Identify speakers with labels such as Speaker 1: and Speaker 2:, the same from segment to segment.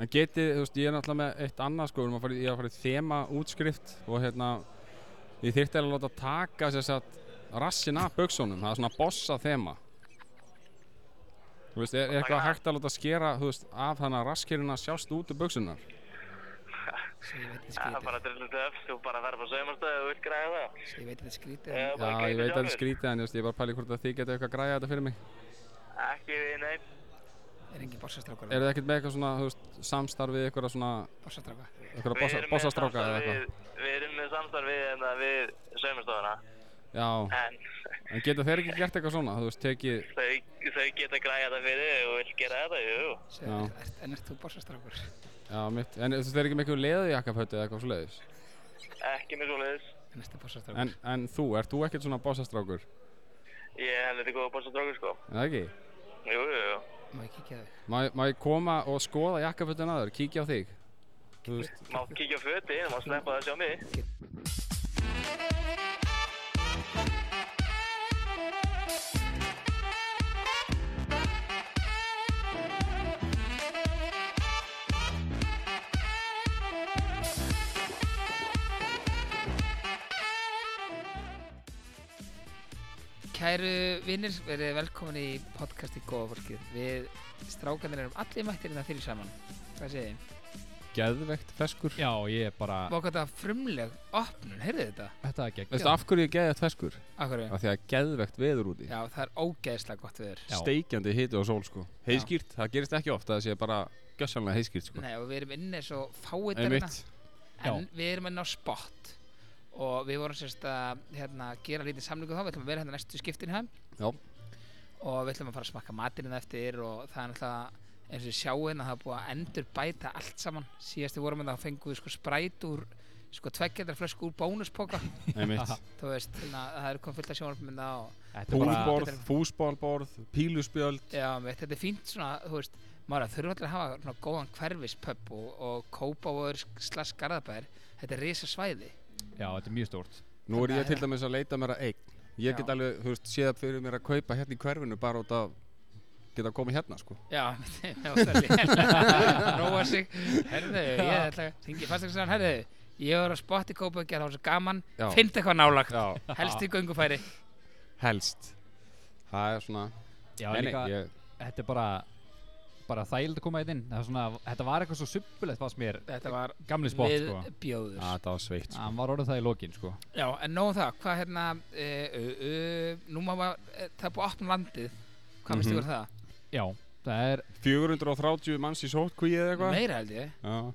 Speaker 1: En getið, þú veist, ég er náttúrulega með eitt annað sko, við erum að fara í- ég er að fara í þema útskrift og hérna, ég þyrfti eiginlega að láta taka sér satt rassin af buksunum, það er svona bossa þema. Þú veist, er, er eitthvað hægt að láta skera, þú veist, af þannig að raskirina sjást út úr buksunar?
Speaker 2: Svo ég veit þetta
Speaker 3: Það er
Speaker 2: skrítið.
Speaker 3: bara drillandi öfst, þú bara þarf á saumastöðu og vilt græða það.
Speaker 2: Svo ég veit þetta skrítið.
Speaker 3: Já,
Speaker 2: en-
Speaker 1: Já,
Speaker 3: bara græða
Speaker 1: ég veit að það er
Speaker 3: sjálfur.
Speaker 1: skrítið en ég veist, ég er bara að pæli hvort að þið geta eitthvað að græja þetta fyrir mig.
Speaker 3: Ekki við neinn.
Speaker 2: Er engin borsastrákur?
Speaker 1: Er þið ekkert með eitthvað svona, þú veist, samstarfið eitthvað svona,
Speaker 2: Borsastrákur.
Speaker 1: eitthvað
Speaker 3: Við
Speaker 1: bossa,
Speaker 3: erum með
Speaker 1: bossastráka
Speaker 3: samstarf
Speaker 1: eða eitthvað?
Speaker 3: við- Við erum með samstarf við, hérna, við saumastöðuna,
Speaker 1: Já,
Speaker 3: en
Speaker 1: en geta þeir ekki gert eitthvað svona, þú veist, tekið,
Speaker 3: þau, þau geta græða það fyrir þig og vilt gera þetta, jú.
Speaker 1: Já.
Speaker 2: En ert þú borsastrákur?
Speaker 1: já, mitt, en þú veist, þeir eru ekki með eitthvað leðujakkafötu eða eitthvað svoleiðis?
Speaker 3: Ekki með svoleiðis.
Speaker 2: En ert þú
Speaker 1: En,
Speaker 2: borsastrákur?
Speaker 1: en þú, ert þú ekkert svona bossastrákur?
Speaker 3: Ég er helviti góð að bossa drókur, sko.
Speaker 1: Er það ekki?
Speaker 3: Jú, jú, jú.
Speaker 2: Má ég kíkja á þig?
Speaker 1: Má, má ég koma og skoða jakkafötun aður, kíkja á þig? Þú veist,
Speaker 3: Má kíkja á föti, það má sleppa það sjá mig.
Speaker 2: Kæru vinnir, verið velkomin í podcasti Góða fólkið. Við strákanir erum allir mættir innan þýri saman. Hvað segir þið?
Speaker 1: geðveikt feskur.
Speaker 4: Já, ég er bara,
Speaker 2: Vá hvað þetta var frumleg opnun, heyrðu þetta?
Speaker 4: þetta er gegn
Speaker 1: Veistu af hverju ég geðveikt feskur?
Speaker 2: Akkur við?
Speaker 1: Af því að geðveikt veður úti.
Speaker 2: Já, það er ógeðslega gott við þér.
Speaker 4: Já.
Speaker 1: Steikjandi hiti og sól, sko. Heiðskýrt, það gerist ekki oft að það sé bara gjössanlega heiðskýrt, sko.
Speaker 2: Nei, og við erum inni svo fáið
Speaker 1: Einmitt.
Speaker 2: En við erum inn á spot og við vorum sérst að hérna, gera lítið samlingu þá, við ætlum að vera hérna næstu skiptinu heim
Speaker 1: Já,
Speaker 2: og við ætlum að fara að smakka matinn hérna eftir og það er náttúrulega eins og við sjáum hérna það er búið að endur bæta allt saman síðast við vorum hérna þá fengum við sko spræt úr sko tveggjandar flösku úr bónuspoka
Speaker 1: einmitt.
Speaker 2: þú veist, hérna, það er komið fullt af sjónarmynda og
Speaker 4: Þetta er bara,
Speaker 1: Púlborð, fúsbólborð, píluspjöld.
Speaker 2: já, mitt, þetta er fínt svona, þú veist maður að þurfa allir að hafa svona góðan hverfispöpp og, og kópa og slags garðabær þetta er risa svæði
Speaker 4: já, þetta er mjög stórt.
Speaker 1: Nú er ég til dæmis að leita mér að eign. Ég get
Speaker 2: Já.
Speaker 1: alveg, þú veist, séð fyrir mér að kaupa hérna í hverfinu bara út af geta komið hérna, sko.
Speaker 2: Já, það var svolítið Róa sig Herðu, ég ætla að ringi fastegnsæðan Herðu, ég var að spotta í Kópauki Það var svo gaman,
Speaker 1: Já.
Speaker 2: finnst eitthvað nálagt
Speaker 1: Já.
Speaker 2: Helst í göngufæri
Speaker 1: Helst. Það er svona,
Speaker 4: Já,
Speaker 1: nei, nei,
Speaker 4: líka,
Speaker 1: ég,
Speaker 4: þetta er bara, bara þægild að koma þetta inn. Það er svona, þetta var eitthvað svo suppulegt fannst mér,
Speaker 2: Þetta var
Speaker 4: gamli spott,
Speaker 2: við
Speaker 4: sko.
Speaker 2: bjóður
Speaker 1: að það var sveitt,
Speaker 2: Ah.
Speaker 1: sko.
Speaker 4: Hann var orðið það í lokin, sko.
Speaker 2: Já, en nóg um það, hvað hérna e, ö, ö, Nú maður, e, það er búið að opna landið Hvað finnst
Speaker 1: Mhm.
Speaker 2: ykkur um það?
Speaker 4: Já, það er,
Speaker 1: 430 manns í sótkví eða eitthvað
Speaker 2: Meira held ég
Speaker 1: Já.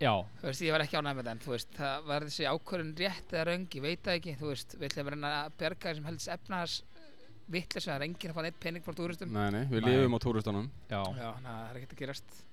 Speaker 4: já,
Speaker 2: Þú veist, ég var ekki ánægð með það en þú veist, það var þessi ákvörðun rétt eða röng, ég veit það ekki, þú veist, við ætlum að reyna að berga þessum helst efnaðars vitlega sem það er enginn að fá neitt pening frá túristum.
Speaker 1: Nei, nei, við
Speaker 4: Nei.
Speaker 1: lifum á túristunum
Speaker 4: já,
Speaker 2: Já, na, það er ekkert að gerast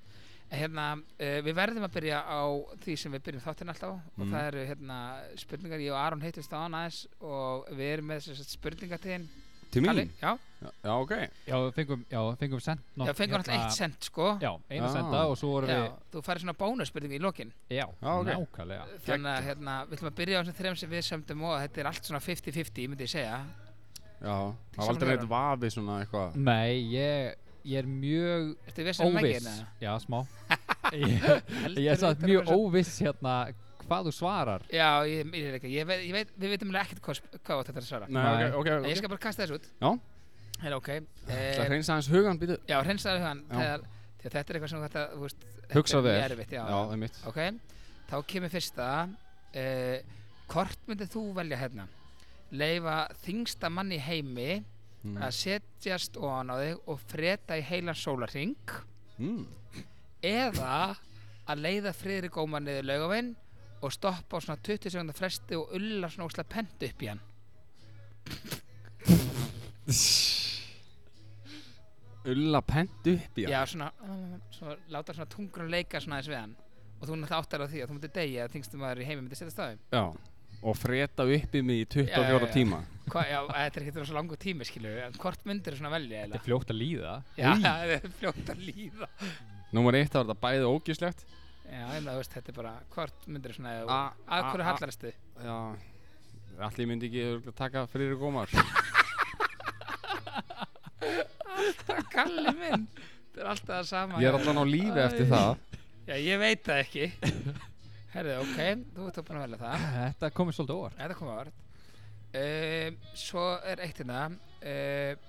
Speaker 2: En hérna, uh, við verðum að byrja á því sem við byrjum þáttinn alltaf á og
Speaker 1: Mm.
Speaker 2: það eru hérna, spurningar, ég og Aron heittist á hann aðeins og við erum með þess að spurningatíðin
Speaker 1: Til mín?
Speaker 2: já,
Speaker 1: Já, ok
Speaker 4: já, við fengum, já, við fengum sent.
Speaker 2: já, fengum hérna, alltaf eitt sent sko
Speaker 4: Já, eina
Speaker 1: Já.
Speaker 4: senda og svo vorum
Speaker 2: já,
Speaker 4: við,
Speaker 2: þú færir svona bónusspurningu í lokin
Speaker 4: já,
Speaker 1: Já, ok.
Speaker 4: nákvæmlega.
Speaker 2: þannig að hérna, við ætlum að byrja á þessum þrem sem við sömdum og þetta er allt svona 50-50 myndi ég segja
Speaker 1: Já, það var
Speaker 2: saman
Speaker 1: aldrei
Speaker 2: meira.
Speaker 1: neitt vafi svona eitthvað
Speaker 4: Nei, ég, ég er mjög
Speaker 2: Ertu um við sem
Speaker 4: óviss.
Speaker 2: nægir
Speaker 4: Já, smá. Ég, ég er satt mjög óviss hérna hvað þú svarar.
Speaker 2: um Já, ég, ég, ég, ég, veit, ég veit, við veitum alveg ekkert hvað, sp- hvað þetta er að svara
Speaker 1: Nei,
Speaker 4: Nei.
Speaker 1: ok, ok,
Speaker 2: En
Speaker 1: ok
Speaker 2: Ég skal bara kasta þessu út
Speaker 1: Já.
Speaker 2: Heyrðu, ok
Speaker 1: Það
Speaker 2: eh,
Speaker 1: reynsa hans hugan býtu
Speaker 2: Já, hreinsaðu hugan
Speaker 1: Já.
Speaker 2: þegar, þegar þetta er eitthvað sem þetta, þú veist þetta
Speaker 1: Hugsa
Speaker 2: er
Speaker 1: vel
Speaker 2: mjög erfitt, já,
Speaker 1: það er mitt
Speaker 2: Ok, þá kemur fyrsta eh, Hvort myndið þú velja hérna? Leifa þingsta mann í heimi
Speaker 1: Mm.
Speaker 2: að setjast ofan á þig og freda í heilan sólarring
Speaker 1: mm.
Speaker 2: eða að leiða friðri góma niður laugavinn og stoppa á svona 20 sekundar fresti og ulla svona óslega pent upp í hann
Speaker 1: Ulla pent upp í
Speaker 2: Já,
Speaker 1: hann
Speaker 2: svona, svona láta svona tungrun leika svona aðeins við hann og þú náttúrulega áttar á því að þú myndir degja að þingstum maður í heimi myndir setja stafi
Speaker 1: Já Og freta upp í mig í
Speaker 2: Já, já,
Speaker 1: 24
Speaker 2: já.
Speaker 1: tíma
Speaker 2: Hva, já, þetta er ekkert svo langur tími skilur við, en hvort myndir er svona velja
Speaker 4: Þetta
Speaker 2: eða?
Speaker 4: er fljótt að líða.
Speaker 2: Já, það er fljótt að líða
Speaker 1: Númer eitt það var þetta bæði ógislegt
Speaker 2: Já, ég meina, þú veist, þetta er bara, hvort myndir er svona eða,
Speaker 1: A-
Speaker 2: að
Speaker 1: a-
Speaker 2: hverju
Speaker 1: a-
Speaker 2: hallaristu?
Speaker 1: Já Allir myndi ekki örugglega taka fyrir gómar
Speaker 2: Kalli minn, þetta er alltaf það sama
Speaker 1: Ég er allan á lífi eftir það
Speaker 2: Já, ég veit það ekki Herðu, ok, þú ert búin að velja það
Speaker 4: Þetta komið svolítið óvart
Speaker 2: Þetta kom að orð um, Svo er eitt hérna um,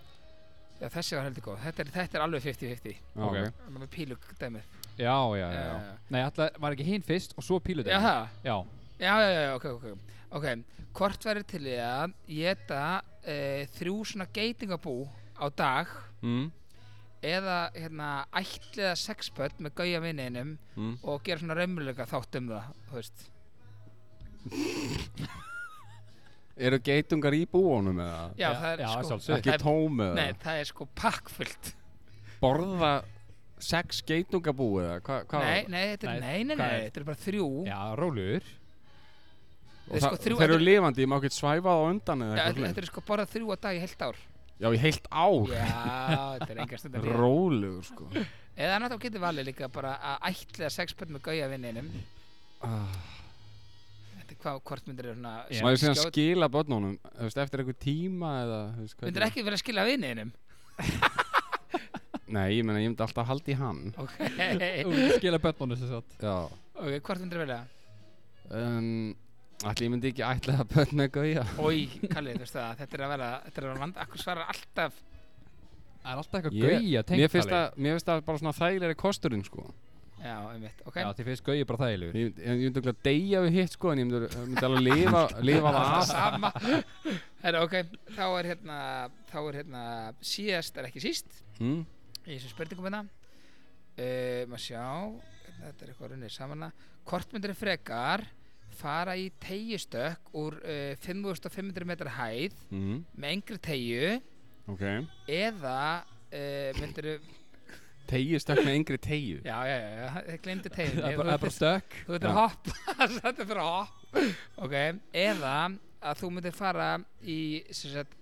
Speaker 2: Já, þessi var heldur góð Þetta er, þetta er alveg 50-50
Speaker 1: Já,
Speaker 4: Ok.
Speaker 1: ok.
Speaker 2: Það er með pílug dæmið
Speaker 4: Já, já, já, já.
Speaker 2: Já.
Speaker 4: Nei, alltaf var ekki hinn fyrst og svo píludeg
Speaker 2: Já, það
Speaker 4: Já,
Speaker 2: Já, já, já, ok, ok Ok, hvort verður til í að geta uh, þrjú svona geitingabú á dag
Speaker 1: Mm,
Speaker 2: eða hérna ætliða sexpöld með gauja vinninum
Speaker 1: mm.
Speaker 2: og gera svona raumulega þátt um það, þú veist
Speaker 1: Eru geitungar í búunum eða?
Speaker 2: Já,
Speaker 4: Já,
Speaker 2: það er
Speaker 4: já,
Speaker 2: sko
Speaker 4: sjálfsögðu.
Speaker 1: Ekki
Speaker 2: það er,
Speaker 1: tómu eða?
Speaker 2: Nei, það er sko pakkfullt
Speaker 1: Borða sex geitungabú eða? Hva, hva?
Speaker 2: Nei, nei, þetta er,
Speaker 4: Nei,
Speaker 2: nei, nei,
Speaker 4: hvað
Speaker 2: nei,
Speaker 4: er-
Speaker 2: þetta er bara þrjú
Speaker 4: já, róluður
Speaker 1: Og
Speaker 2: Sko,
Speaker 1: það-
Speaker 2: þrjú-
Speaker 1: Þeir eru
Speaker 2: þetta-
Speaker 1: lifandi, ég má ekki svæfa það á undan eða
Speaker 2: Já,
Speaker 1: eitthvað
Speaker 2: Þetta
Speaker 1: svoleiðis?
Speaker 2: þetta er sko bara þrjú á dag í heilt ár
Speaker 1: Já, í heilt ár
Speaker 2: Já, þetta er engar stundar líða
Speaker 1: Rólegur sko
Speaker 2: Eða náttúrulega getur valið líka bara að ætliða sexpöld með gauja vinninum Þetta er hvað, hvort myndir eru svona
Speaker 4: Já.
Speaker 1: Má ég segja
Speaker 2: skjót-
Speaker 1: skila börnunum þú veist, Eftir einhver tíma eða þú veist,
Speaker 2: Myndir ekki verið að skila vinninum
Speaker 1: Nei, ég meina, ég myndi alltaf halda í hann
Speaker 2: Ok,
Speaker 4: Skila bönnunum sem sagt
Speaker 1: Já
Speaker 2: ok, hvort myndir velja
Speaker 1: um, Ætli ég myndi ekki ætla að börn með gauja
Speaker 2: Ói, Kalli, þú veist það, þetta er að vera Þetta er að vera vand, akkur svarar alltaf
Speaker 4: Það er alltaf eitthvað
Speaker 1: Ég-
Speaker 4: gauja tengt
Speaker 1: Mér finnst það- mér finnst það bara svona þægilegri kosturinn sko
Speaker 2: Já, einmitt, ok
Speaker 4: Já, þið finnst gauja bara þægilegur
Speaker 1: Ég myndi- ég myndi ekki að deyja við hitt sko En ég myndi, myndi alveg lifa, lifa það
Speaker 2: Það
Speaker 1: af
Speaker 2: sama Herra, ok, þá er hérna Þá er hérna, síðast er ekki síst
Speaker 1: mm?
Speaker 2: Í þessum spurningum hérna uh, Má sjá, hérna, þetta er eitthvað runnið saman hérna. Hvort myndir frekar fara í tegjustökk úr uh, 5500 metra hæð
Speaker 1: Mm.
Speaker 2: með engri tegju
Speaker 1: Ok
Speaker 2: eða uh, myndir
Speaker 1: Tegju stökk með yngri tegju
Speaker 2: já, já, já, já, þið glemdi tegin
Speaker 4: Það er bara- það er bara stökk
Speaker 2: þú myndir
Speaker 1: Já.
Speaker 2: hopp þetta er fyrir hopp ok, eða að þú myndir fara í sem sagt,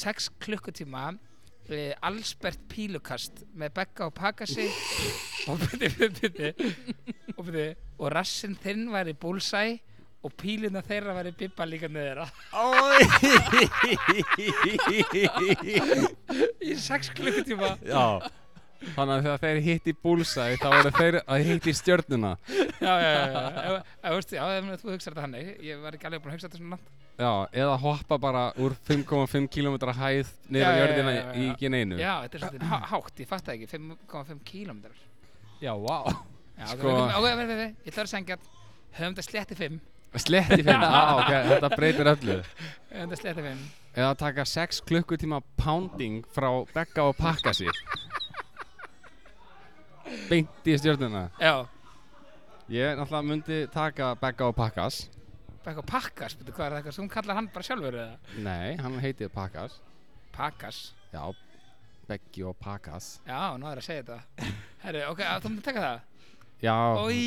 Speaker 2: 6 klukkutíma uh, allsbert pílukast með bekka og pakasi og byrði, byrði, byrði og byrði, og rassinn þinn væri búlsæ og píluna þeirra væri bibba líka með þeirra í 6 klukkutíma
Speaker 1: Já Þannig að þegar þeir hitti búlsæ þá eru þeir að hitti stjörnuna
Speaker 2: já, já, já, já, já, ef- ef- veistu, já, ef þú hugsaði þetta hannig ég var ekki alveg búin að hugsa þetta svona langt
Speaker 1: Já, eða hoppa bara úr 5,5 km hæð niður
Speaker 2: Já,
Speaker 1: á
Speaker 2: já,
Speaker 1: jörðina
Speaker 2: já, já,
Speaker 1: í
Speaker 2: já.
Speaker 1: geneinu
Speaker 2: Já, þetta er svolítið há- hátt, ég fatt það ekki, 5,5 kílómetrar.
Speaker 4: Já, vá
Speaker 2: Já,
Speaker 1: Sko-
Speaker 2: sko... ok, ok, veit, veit, veit, ég ætla að sengja höfum þetta sletti 5,
Speaker 1: Sletti fyrir, já, ok, þetta breytir öllu
Speaker 2: höfum þetta sletti 5.
Speaker 1: Eða taka 6 klukkutíma pounding frá bekka og pakka sér Beint í stjörnuna
Speaker 2: Já,
Speaker 1: Ég náttúrulega myndi taka bekka og pakkas
Speaker 2: bara eitthvað pakkas, betur hvað er það, eitthvað sem hún kallar hann bara sjálfur eða?
Speaker 1: Nei, hann heitið pakkas
Speaker 2: Pakkas,
Speaker 1: Já, bekki og pakkas
Speaker 2: já, nú er að segja þetta. Herru, ok, að þú myndir taka það?
Speaker 1: Já,
Speaker 2: Í,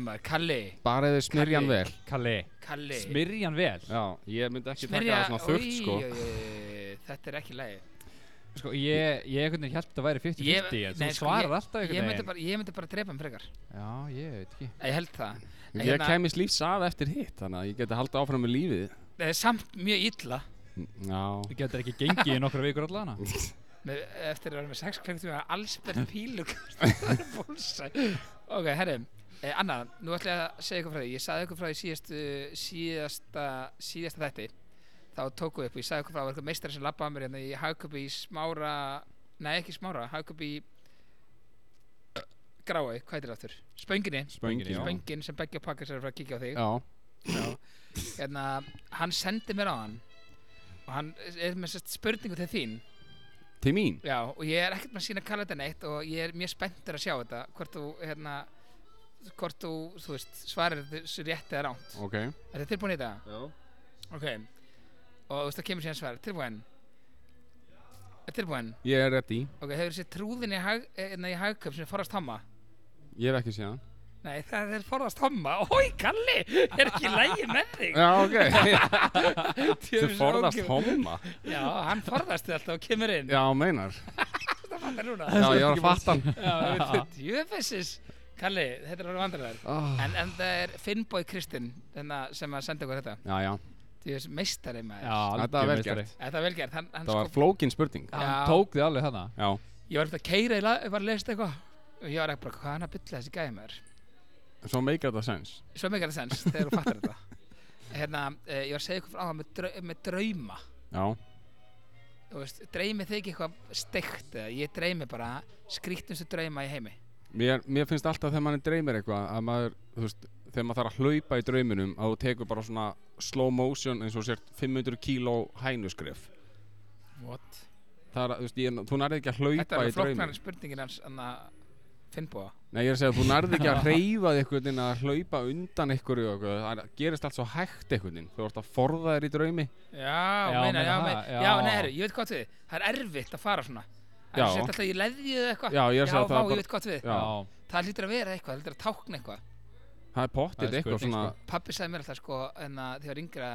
Speaker 2: maður, Kalli,
Speaker 1: bara eða smyrjan
Speaker 2: Kalli.
Speaker 1: vel
Speaker 4: Kalli
Speaker 2: Kalli.
Speaker 4: Smyrjan vel
Speaker 1: Já, ég myndi ekki taka það svona þurft sko
Speaker 2: Í, þetta er ekki lægi.
Speaker 4: Sko, ég, ég einhvern veginn held að þetta væri 50-50 En þú svarar alltaf
Speaker 2: sko, ég
Speaker 4: einhvern
Speaker 2: myndi,
Speaker 4: veginn
Speaker 2: bara, ég myndi bara drepa hann frekar.
Speaker 4: Já, ég veit ekki
Speaker 2: Ég held það. En hérna,
Speaker 1: Ég kemist lífs af eftir hitt Þannig að ég geti haldið áfram með lífið
Speaker 2: eh, Samt mjög illa.
Speaker 1: Já
Speaker 4: Þú getur ekki gengið í nokkra vikur allana
Speaker 2: með, eftir að vera með sex klukkutíma allsberð pílukast það er bólsæ ok, herri, eh, Anna, nú ætla ég að segja ykkur frá því ég saði ykkur frá því síðastu síðasta, síðasta þætti þá tóku við upp, og ég saði ykkur frá ykkur meistari sem labbaði að mér hérna í hagköpi í smára nei, ekki smára, hagköpi í grái, hvað heitir það aftur? Spönginni,
Speaker 1: Spöngin, já
Speaker 2: spöngin sem begja pakkar sér að fara að kíkja á þig
Speaker 1: Já,
Speaker 2: hérna, hann sendi mér á hann og hann er með sérst spurningu til þín
Speaker 1: til mín
Speaker 2: Já, og ég er ekkert með að sína að kalla þetta neitt og ég er mjög spenntur að sjá þetta hvort þú, hérna hvort þú, þú veist, svarir þessu rétt eða ránt.
Speaker 1: Ok
Speaker 2: Er þetta tilbúin í þetta?
Speaker 1: Já
Speaker 2: Ok. Og þú veist, það kemur síðan svar. Tilbúin? Er tilbúin?
Speaker 1: Ég er ready
Speaker 2: Ok, hefur þessi trúðin í, hag, hérna í hagköp sem er forðast homma?
Speaker 1: Ég hef ekki séð hann
Speaker 2: Nei, það er forðast homma. Ói, Kalli, er ekki lægi með þig.
Speaker 1: Já, ok Þú
Speaker 2: Djöfis
Speaker 1: forðast
Speaker 2: ógeð.
Speaker 1: homma
Speaker 2: Já, hann forðast þig alltaf og kemur inn.
Speaker 1: Já, meinar
Speaker 2: Þetta fattar núna.
Speaker 1: Já, ég var að fatta hann
Speaker 2: Já, djöfessis. Kalli, þetta er alveg vandræðar.
Speaker 1: Ah,
Speaker 2: En, en það er Finnbói Kristinn hérna, sem að senda okkur þetta
Speaker 1: Já, já
Speaker 2: Þú veist, meistari maður
Speaker 4: Já,
Speaker 1: Þetta var vel
Speaker 4: algjör
Speaker 1: gert.
Speaker 4: meistari.
Speaker 2: Þetta er vel gert hann, hann
Speaker 1: Það var
Speaker 2: sko,
Speaker 1: flókin spurning
Speaker 2: Já.
Speaker 4: Hann tók þið alveg hana
Speaker 1: Já
Speaker 2: Ég var eftir að keira, ég var að lesa eitthvað Og ég var ekki bara, hvað er hann að bylla þessi gæði maður
Speaker 1: svo meikar þetta sens
Speaker 2: svo mikið er sens þegar þú fattar þetta hérna, eh, ég var að segja ykkur frá það með, drau, með drauma
Speaker 1: Já,
Speaker 2: Þú veist, dreymi þig ekki eitthvað steikt eða ég dreymi bara skrýtnustu drauma í heimi
Speaker 1: mér, mér finnst alltaf þegar mann dreymir eitthvað að maður, þú veist, þegar maður þarf að hlaupa í drauminum að þú tekur bara svona slow motion eins og sért 500 kíló hænuskref
Speaker 2: What?
Speaker 1: Það er, að, þú veist, ég, þú nærði ekki að
Speaker 2: Þetta
Speaker 1: hlaupa
Speaker 2: er
Speaker 1: í drauminu
Speaker 2: flokknar spurningin hans anna, Finnbóa
Speaker 1: Nei, ég er að segja að þú nærði ekki að reyfa þig einhvern veginn að hlaupa undan ykkur og eitthvað. það er- gerist allt svo hægt einhvern veikur þú ert að forða þér í draumi
Speaker 2: Já,
Speaker 4: Já,
Speaker 2: meina,
Speaker 4: meina
Speaker 2: já,
Speaker 4: það,
Speaker 2: meina, já,
Speaker 4: já.
Speaker 2: já, nei, heru, ég veit gott við þig. Það er erfitt að fara svona Það er
Speaker 1: Já.
Speaker 2: svo sett alltaf í leðju eða eitthvað
Speaker 1: Já, ég er að
Speaker 2: já,
Speaker 1: segja
Speaker 2: vá,
Speaker 1: að það er
Speaker 2: ég
Speaker 1: bara-
Speaker 2: veit gott við þig.
Speaker 1: Já.
Speaker 2: Það hlýtur að vera eitthvað, það hlýtur að tákna eitthvað
Speaker 1: það er
Speaker 4: Það
Speaker 1: pottið
Speaker 4: er
Speaker 1: eitthvað
Speaker 4: spurning,
Speaker 1: svona
Speaker 4: sko.
Speaker 2: Pappi sagði mér alltaf sko, en að þegar ég var yngra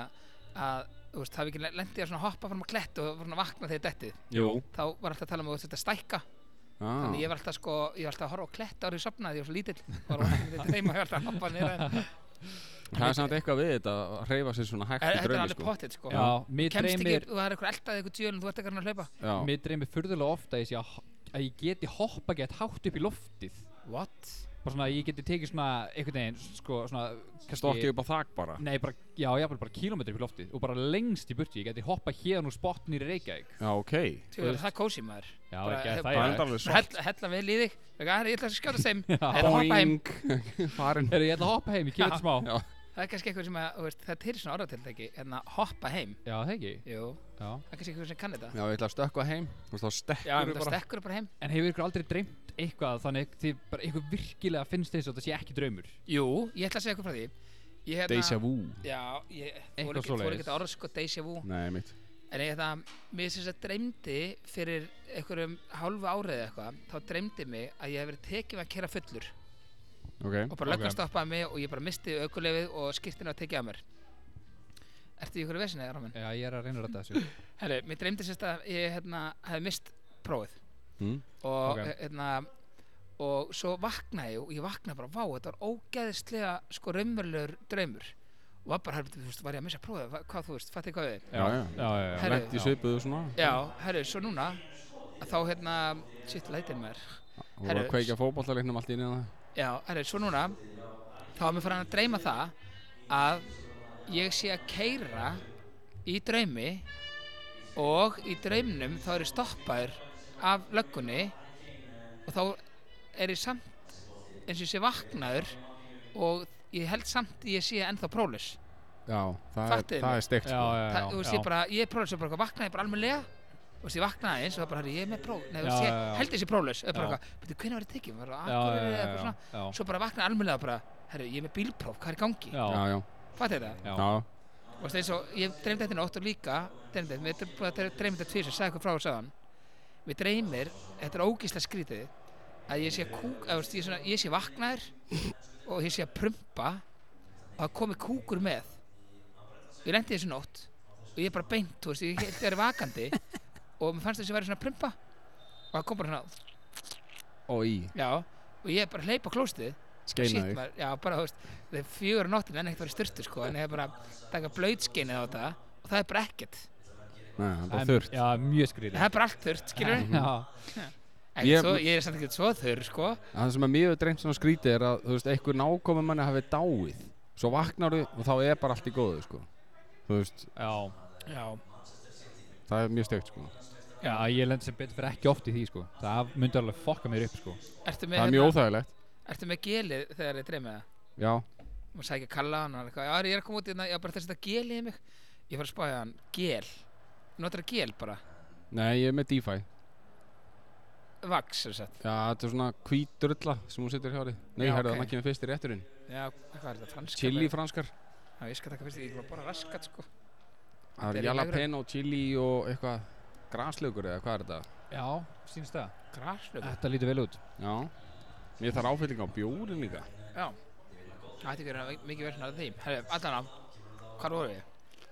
Speaker 2: að, þú veist, hafi ekki lendið að svona hoppa fram á klett og svona vakna þegar dettið
Speaker 1: jú
Speaker 2: Þá var alltaf að tala um að þú þetta stækka
Speaker 1: ah.
Speaker 2: Þannig ég var alltaf sko, ég var alltaf að horfa á klett árið sopnaði, ég var svo lítill og var alltaf heima, ég var alltaf að hoppa niður
Speaker 1: það er samt eitthvað við þetta að reyfa sér svona hægt í
Speaker 2: Þetta er
Speaker 1: draumi
Speaker 2: alveg
Speaker 1: sko.
Speaker 2: pottitt sko
Speaker 4: Já, mér
Speaker 2: Kemst
Speaker 4: dreymir
Speaker 2: ekki, þú er eitthvað eldaði eitthvað djöl en þú ert ekki að reyna að hlaupa
Speaker 1: Já.
Speaker 4: Mér dreymir furðulega ofta að ég, sé að, ho- að ég geti hoppa gett hátt upp í loftið
Speaker 2: What?
Speaker 4: Bara svona að ég geti tekið svona einhvern veginn sko svona kannski-
Speaker 1: stokki upp á þak bara
Speaker 4: Nei, bara, já, ég hafði bara kílómetri upp í loftið og bara lengst í burti, ég geti hoppa héðan úr spottn í Reykjavík hérna.
Speaker 1: já ok
Speaker 2: Tjóður, það er kósi maður
Speaker 4: Já,
Speaker 2: Bara-
Speaker 4: ekki að
Speaker 1: það
Speaker 2: bara-
Speaker 4: það er
Speaker 1: er alveg svo
Speaker 2: hella, hella vel í þig Vega, herri, ég ætla að skjóta þeim Þeir að hoppa heim
Speaker 1: farin
Speaker 4: Heyrðu, ég ætla að hoppa heim, ég
Speaker 2: Já.
Speaker 4: kemur þetta smá
Speaker 1: Já.
Speaker 2: Það er kannski eitthvað sem að, þú veist, það er til svona orðatiltæki En að hoppa heim
Speaker 4: Já, það ekki
Speaker 2: Jú,
Speaker 4: Já.
Speaker 2: það er kannski eitthvað sem kann þetta
Speaker 1: já ég ætla að stökkva heim þú veist þá
Speaker 2: Já,
Speaker 1: stekkur við
Speaker 2: en það
Speaker 1: bara
Speaker 2: stekkur bara heim
Speaker 4: En hefur ykkur aldrei dreymt eitthvað þannig því bara ykkur virkilega finnst þess að það sé ekki draumur?
Speaker 2: Jú, ég ætla að segja eitthvað frá því Ég hérna
Speaker 1: deja vu
Speaker 2: Já, ég fór
Speaker 4: Eitthvað
Speaker 2: ekki, fór
Speaker 4: svoleiðis.
Speaker 2: ekki orð sko deja vu
Speaker 1: nei mitt
Speaker 2: En ég það, mér sem þetta dreymdi Fyrir einhverjum hálfu árið eða eitthvað Þá dreymdi mig að ég hef verið tekið að kera fullur
Speaker 1: ok
Speaker 2: og bara löggan
Speaker 4: Ok.
Speaker 2: stoppaði mig og ég bara misti aukulefið og skýrtinu að tekið að mér Ertu í ykkur vesinni, Rámin?
Speaker 4: Já, ég er að reyna að rætta þessu.
Speaker 2: Herru, mér dreymdi sérst að ég hérna, hefði mist prófið
Speaker 1: Mm.
Speaker 2: og
Speaker 4: Ok.
Speaker 2: hérna og svo vaknaði ég og ég vaknaði bara vá, þetta var ógeðislega sko raunverulegur draumur og var bara, herru, þú veist, var ég að missa prófið Hva- hvað þú veist, fattið hvað við
Speaker 1: Já, já.
Speaker 4: já, já, já.
Speaker 2: Herru,
Speaker 1: lent í svipuðu svona
Speaker 2: já, herru, svo núna að þá hérna, sitt lætin mér
Speaker 1: og voru
Speaker 2: Herru.
Speaker 1: að kveika fótballalegnum allt inn í það
Speaker 2: já, herru, svo núna þá var mér farin að dreyma það að ég sé að keira í draumi og í draumnum þá er ég stoppaður af löggunni og þá er ég samt eins og ég sé vaknaður og ég held samt ég sé ennþá prólis
Speaker 1: já það er,
Speaker 2: Fattiði
Speaker 1: það
Speaker 2: mig.
Speaker 1: er steikt
Speaker 4: Já,
Speaker 1: sko.
Speaker 4: já, já.
Speaker 2: það, þú veist, ég bara, ég er prólis og bara eitthvað, vaknaði bara almennilega og veist, ég vaknaði eins og það bara, herri, ég er með pró nei, þú veist,
Speaker 4: Já,
Speaker 2: ég
Speaker 4: já, já.
Speaker 2: held þessi prólis og bara
Speaker 4: Já.
Speaker 2: eitthvað, betur, hvernig var ég tekið, var það
Speaker 4: Já, já,
Speaker 2: akkurir
Speaker 4: já,
Speaker 2: eða eitthvað
Speaker 4: já,
Speaker 2: svona
Speaker 4: já.
Speaker 2: svo bara vaknaði almennilega bara, herri, ég er með bílpróf, hvað er í gangi
Speaker 4: Já,
Speaker 1: já já
Speaker 2: fattu þetta,
Speaker 4: já.
Speaker 1: já
Speaker 2: og veist, eins og ég dreymdi þetta í nótt og líka, dreymdi þetta, við erum búin að dreymdi þetta tvísa, sagði eitthvað frá og sagðan við dreymir, þetta er ógísla skrítið að ég sé að kúk, að, þú veist, ég, svona, ég sé vaknaður og ég sé að prumpa og það komi kúkur með ég lendi þessu nótt og ég er bara beint, þú veist, ég held ég er vakandi og mér fannst þessi að vera svona að prumpa og það kom bara svona,
Speaker 1: og í
Speaker 2: já og ég er bara að hleypa á klóstið
Speaker 1: skeina
Speaker 2: Shit,
Speaker 1: þig
Speaker 2: maður, já, bara, þú veist, það er fjögur á nóttin en ekkert var í styrtu, sko, en ég hef bara taka blöytskeinið á þetta og það er bara ekkert.
Speaker 1: nei það er bara
Speaker 4: En-
Speaker 1: þurrt
Speaker 4: Já, mjög skrýðið.
Speaker 2: Það er bara allt þurrt, skilur við?
Speaker 4: Já,
Speaker 1: Ég-
Speaker 2: Ég, svo, ég er samt ekkert svo þurr, sko.
Speaker 1: það sem er mjög dreymt svona skrítið er að þú veist einhver nákomin manni hafi dáið svo vaknar þú og þá er bara allt í góðu sko þú veist
Speaker 4: já.
Speaker 2: Já.
Speaker 1: það er mjög steikt sko
Speaker 4: Já, ég lend sem betur fyrir ekki oft í því, sko. Það myndi alveg fokka mér upp, sko.
Speaker 2: Ertu
Speaker 1: það
Speaker 2: með, hérna,
Speaker 1: er mjög óþægilegt
Speaker 2: ertu með gelið þegar ég dreymið það?
Speaker 1: já
Speaker 2: Má sækja kalla hann og hann er eitthvað, já, ég er að koma út í þetta, já, bara þess að þetta gelið í mig. Ég var að spája hann, gel. Notar það gel bara,
Speaker 1: nei ég er með DeFi
Speaker 2: vax, sem sagt.
Speaker 1: Já, þetta er svona hvít drulla sem hún setur hjá þig. Nei,
Speaker 2: Já,
Speaker 1: herðu,
Speaker 2: ok.
Speaker 1: okay. það kemur fyrst í rétturinn.
Speaker 2: Já, hvað er þetta, franska?
Speaker 1: Chili franskar.
Speaker 2: Já, ég skal taka fyrst, ég var bara raskat, sko.
Speaker 1: Það
Speaker 2: Þetta er
Speaker 1: er
Speaker 2: í
Speaker 1: jalapeno, chili og eitthvað graslaugur eða hvað er þetta?
Speaker 4: Já, sínst það.
Speaker 2: Graslöf.
Speaker 4: Þetta lítur vel út.
Speaker 1: Já. Mér þarf áfylling á bjórin líka.
Speaker 2: Já, það ætti ekki verið að- mikið verðin að því. Herru, allan á, hvað voru við?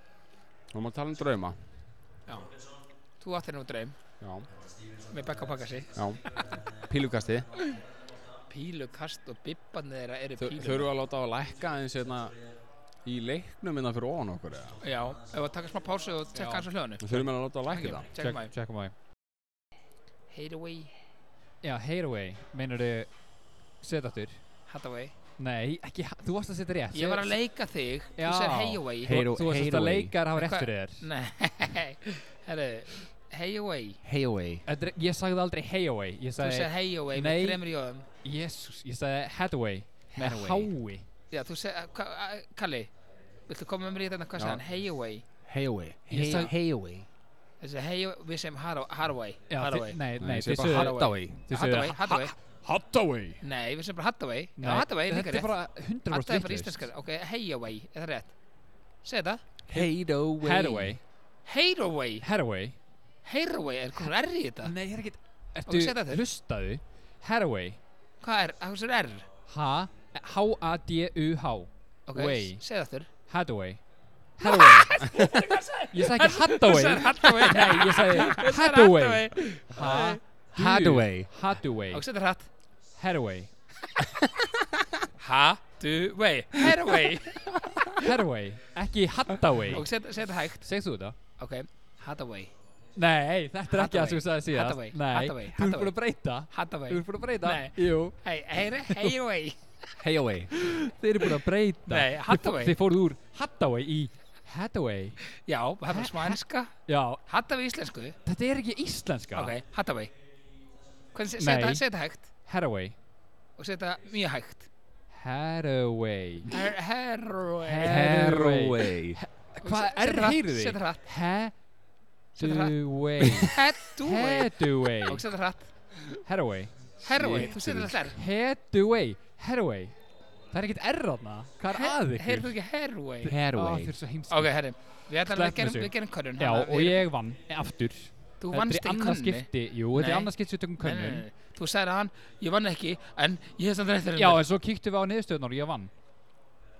Speaker 1: Nú má tala um drauma.
Speaker 2: Já. Þú áttir nú draum
Speaker 1: Já.
Speaker 2: með bekka og pakkasi.
Speaker 1: Já. Pílukasti.
Speaker 2: Pílukast og bibbarnir þeirra eru
Speaker 1: Þau
Speaker 2: pílur.
Speaker 1: þau eru að láta á að lækka eins hérna í leiknum innan fyrir ofan okkur eða.
Speaker 2: Já, ef við að taka smá pásu og
Speaker 4: Já.
Speaker 2: tekka hans á hljóðinu.
Speaker 1: Þau eru að láta á að lækka það.
Speaker 2: Tjekkum að
Speaker 4: Checkum að
Speaker 2: Hateaway,
Speaker 4: Já, Hateaway, meinar þau setaftur?
Speaker 2: Hathaway,
Speaker 4: Nei, ekki, ha- þú varst að setja rétt
Speaker 2: Ég var að leika þig, þú
Speaker 4: Já.
Speaker 2: sér hey away
Speaker 4: Þú,
Speaker 5: Hey-
Speaker 4: þú varst að
Speaker 5: Heroin.
Speaker 4: leika að hafa rétt
Speaker 2: Hvað-
Speaker 4: fyrir þér
Speaker 2: Nei, herru, hey away
Speaker 5: Hey away
Speaker 4: Þetta er- Ég sagði aldrei hey away Ég
Speaker 2: Þú
Speaker 4: sagði,
Speaker 2: sér hey away
Speaker 4: Nei.
Speaker 2: með þremur jóðum
Speaker 4: jésús, ég sagði headway Með hái
Speaker 2: Já, þú sér, hva, a- Kalli, viltu koma með mér í þetta hvað
Speaker 1: Já.
Speaker 2: sagði hann? Hey away
Speaker 5: Hey away
Speaker 4: Ég
Speaker 5: Hey,
Speaker 4: sagði-
Speaker 5: hey away
Speaker 2: Þessi hey away, við sem Haraway
Speaker 4: Já, þi-
Speaker 2: Haraway
Speaker 4: Nei,
Speaker 1: Nei,
Speaker 4: nei,
Speaker 1: ég segi
Speaker 4: þið
Speaker 1: bara
Speaker 4: sögðu
Speaker 2: Hathaway.
Speaker 5: Hathaway
Speaker 4: þið sögðu-
Speaker 2: Hattaway, Hattaway
Speaker 1: Hathaway
Speaker 2: Nei, við sem bara Hattaway Já,
Speaker 4: Nei,
Speaker 2: Hattaway, líka
Speaker 4: Þetta er
Speaker 2: rétt
Speaker 4: bara 100%
Speaker 2: Hattaway er bara
Speaker 4: vitlaust.
Speaker 2: íslenskar, ok, hey away, er það rétt? Segðu það
Speaker 5: Hey away
Speaker 4: Headway
Speaker 2: Hey away,
Speaker 4: Headway
Speaker 2: hey away, er komin R í þetta?
Speaker 4: Nei, það er ekkert
Speaker 2: Ok, segðu það
Speaker 4: Ertu,
Speaker 2: þér.
Speaker 4: hlustaðu Headway
Speaker 2: Hvað er, hvað er R?
Speaker 4: Ha H-A-D-U-H
Speaker 2: Ok,
Speaker 4: Way.
Speaker 2: segðu það þurr
Speaker 4: Hathaway Hathaway Ég sagði ekki Hathaway
Speaker 2: Hattaway
Speaker 4: Nei, ég sagði Hathaway Ha-
Speaker 5: Hathaway.
Speaker 4: Hathaway
Speaker 2: Ok, segðu það hratt
Speaker 4: Hathaway
Speaker 2: Hattaway Hattaway
Speaker 4: Hathaway Ekki Hathaway
Speaker 2: Ok, segðu segðu það hægt
Speaker 4: Segðu þú þetta?
Speaker 2: Ok, Hattaway
Speaker 4: Nei, þetta er ekki það
Speaker 2: Hathaway.
Speaker 4: sem þú sagði síðast
Speaker 2: Hathaway,
Speaker 4: Nei,
Speaker 2: Hathaway,
Speaker 4: þú ert
Speaker 2: Hathaway.
Speaker 4: búin að breyta Þú
Speaker 2: Hattaway
Speaker 4: ert búin að breyta
Speaker 2: Nei.
Speaker 4: Jú
Speaker 2: Hey, hey, hey away
Speaker 5: Hey away
Speaker 4: Þið eru búin að breyta
Speaker 2: Nei,
Speaker 4: Þið fó-
Speaker 2: Hathaway.
Speaker 4: Þið fóruð úr Hathaway í Hathaway
Speaker 2: Já, það er bara svanska
Speaker 4: Já,
Speaker 2: Hattaway íslensku
Speaker 4: þetta er ekki íslenska
Speaker 2: Ok, Hattaway Hvernig se-
Speaker 4: Nei.
Speaker 2: segðu það- segðu það hægt
Speaker 4: Hathaway
Speaker 2: og segðu það mjög hægt
Speaker 4: Hathaway
Speaker 2: Her- Herway
Speaker 5: Hathaway
Speaker 4: Hvað
Speaker 2: Set-
Speaker 4: er
Speaker 2: settu hratt,
Speaker 4: heyrið
Speaker 2: settu
Speaker 4: þig?
Speaker 2: hratt. Settu hratt.
Speaker 4: Hathaway
Speaker 2: Hattaway
Speaker 4: Hathaway
Speaker 2: Og setja hratt
Speaker 4: Hathaway
Speaker 2: Herway, þú setja alltaf R
Speaker 4: Hathaway Hathaway Það er ekkert err þarna Hvað er að ykkur?
Speaker 2: Heyrðu ekki Herway
Speaker 4: Ó,
Speaker 5: Hathaway
Speaker 4: þið er svo heimsk
Speaker 2: Ok, herri Við ætlum
Speaker 4: Sleppum
Speaker 2: að gerum,
Speaker 4: þessu.
Speaker 2: við gerum könnun
Speaker 4: Já,
Speaker 2: þannig að
Speaker 4: og
Speaker 2: við-
Speaker 4: ég vann aftur
Speaker 2: Þú
Speaker 4: Þetta er
Speaker 2: vannst
Speaker 4: í
Speaker 2: ekki
Speaker 4: annað
Speaker 2: könnunni
Speaker 4: skipti Jú, þetta er
Speaker 2: Nei.
Speaker 4: annað skipti sem við tökum
Speaker 2: Nei, nei,
Speaker 4: könnun
Speaker 2: nei, nei. Þú sagði að hann Ég vann ekki En ég hef samt rétt fyrir
Speaker 4: Já, en svo kíktum við á niðurstöðunar og ég vann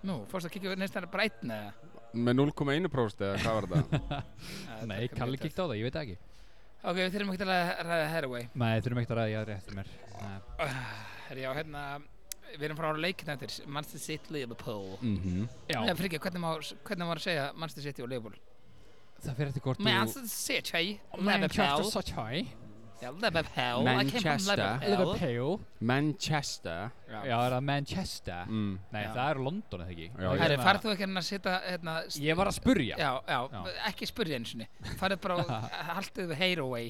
Speaker 2: Nú, fórst að kíkja við neist hann bara einn eða
Speaker 1: Með 0,1% eða hvað var þetta?
Speaker 2: Ja,
Speaker 4: Nei,
Speaker 2: þetta er
Speaker 4: Kalli
Speaker 2: mjög
Speaker 4: kíkti á það, ég veit það ekki
Speaker 2: töff. Ok, við þurfum ekki að ræða- ræða Herway
Speaker 4: Nei, þurfum ekkert að ræða ég aðri eftir mér Nei.
Speaker 2: Herri, já, hérna Við erum frá ára leikin eftir Manchester City Liverpool
Speaker 1: Mhm
Speaker 4: Já,
Speaker 2: Nei, fyrir hvernig má Hvernig var að segja Manchester City og Liverpool
Speaker 4: það fyrir eftir hvort þú
Speaker 2: Manchester City
Speaker 4: Manchester
Speaker 2: Liverpool
Speaker 4: Sochai
Speaker 2: Já, Liverpool I came from
Speaker 5: Manchester.
Speaker 2: Liverpool
Speaker 4: Liverpool
Speaker 1: Manchester
Speaker 4: Já, er það Manchester
Speaker 1: mm.
Speaker 4: Nei,
Speaker 2: Já.
Speaker 4: það er London, eða ekki
Speaker 1: Já, já.
Speaker 2: Herri,
Speaker 4: Hérna-
Speaker 2: farð þú ekki hérna að setja hérna, s-
Speaker 4: Ég var að spurja
Speaker 2: já, já,
Speaker 4: Já.
Speaker 2: ekki spyrja eins og niður Farðu bara, og- haldið við heyra away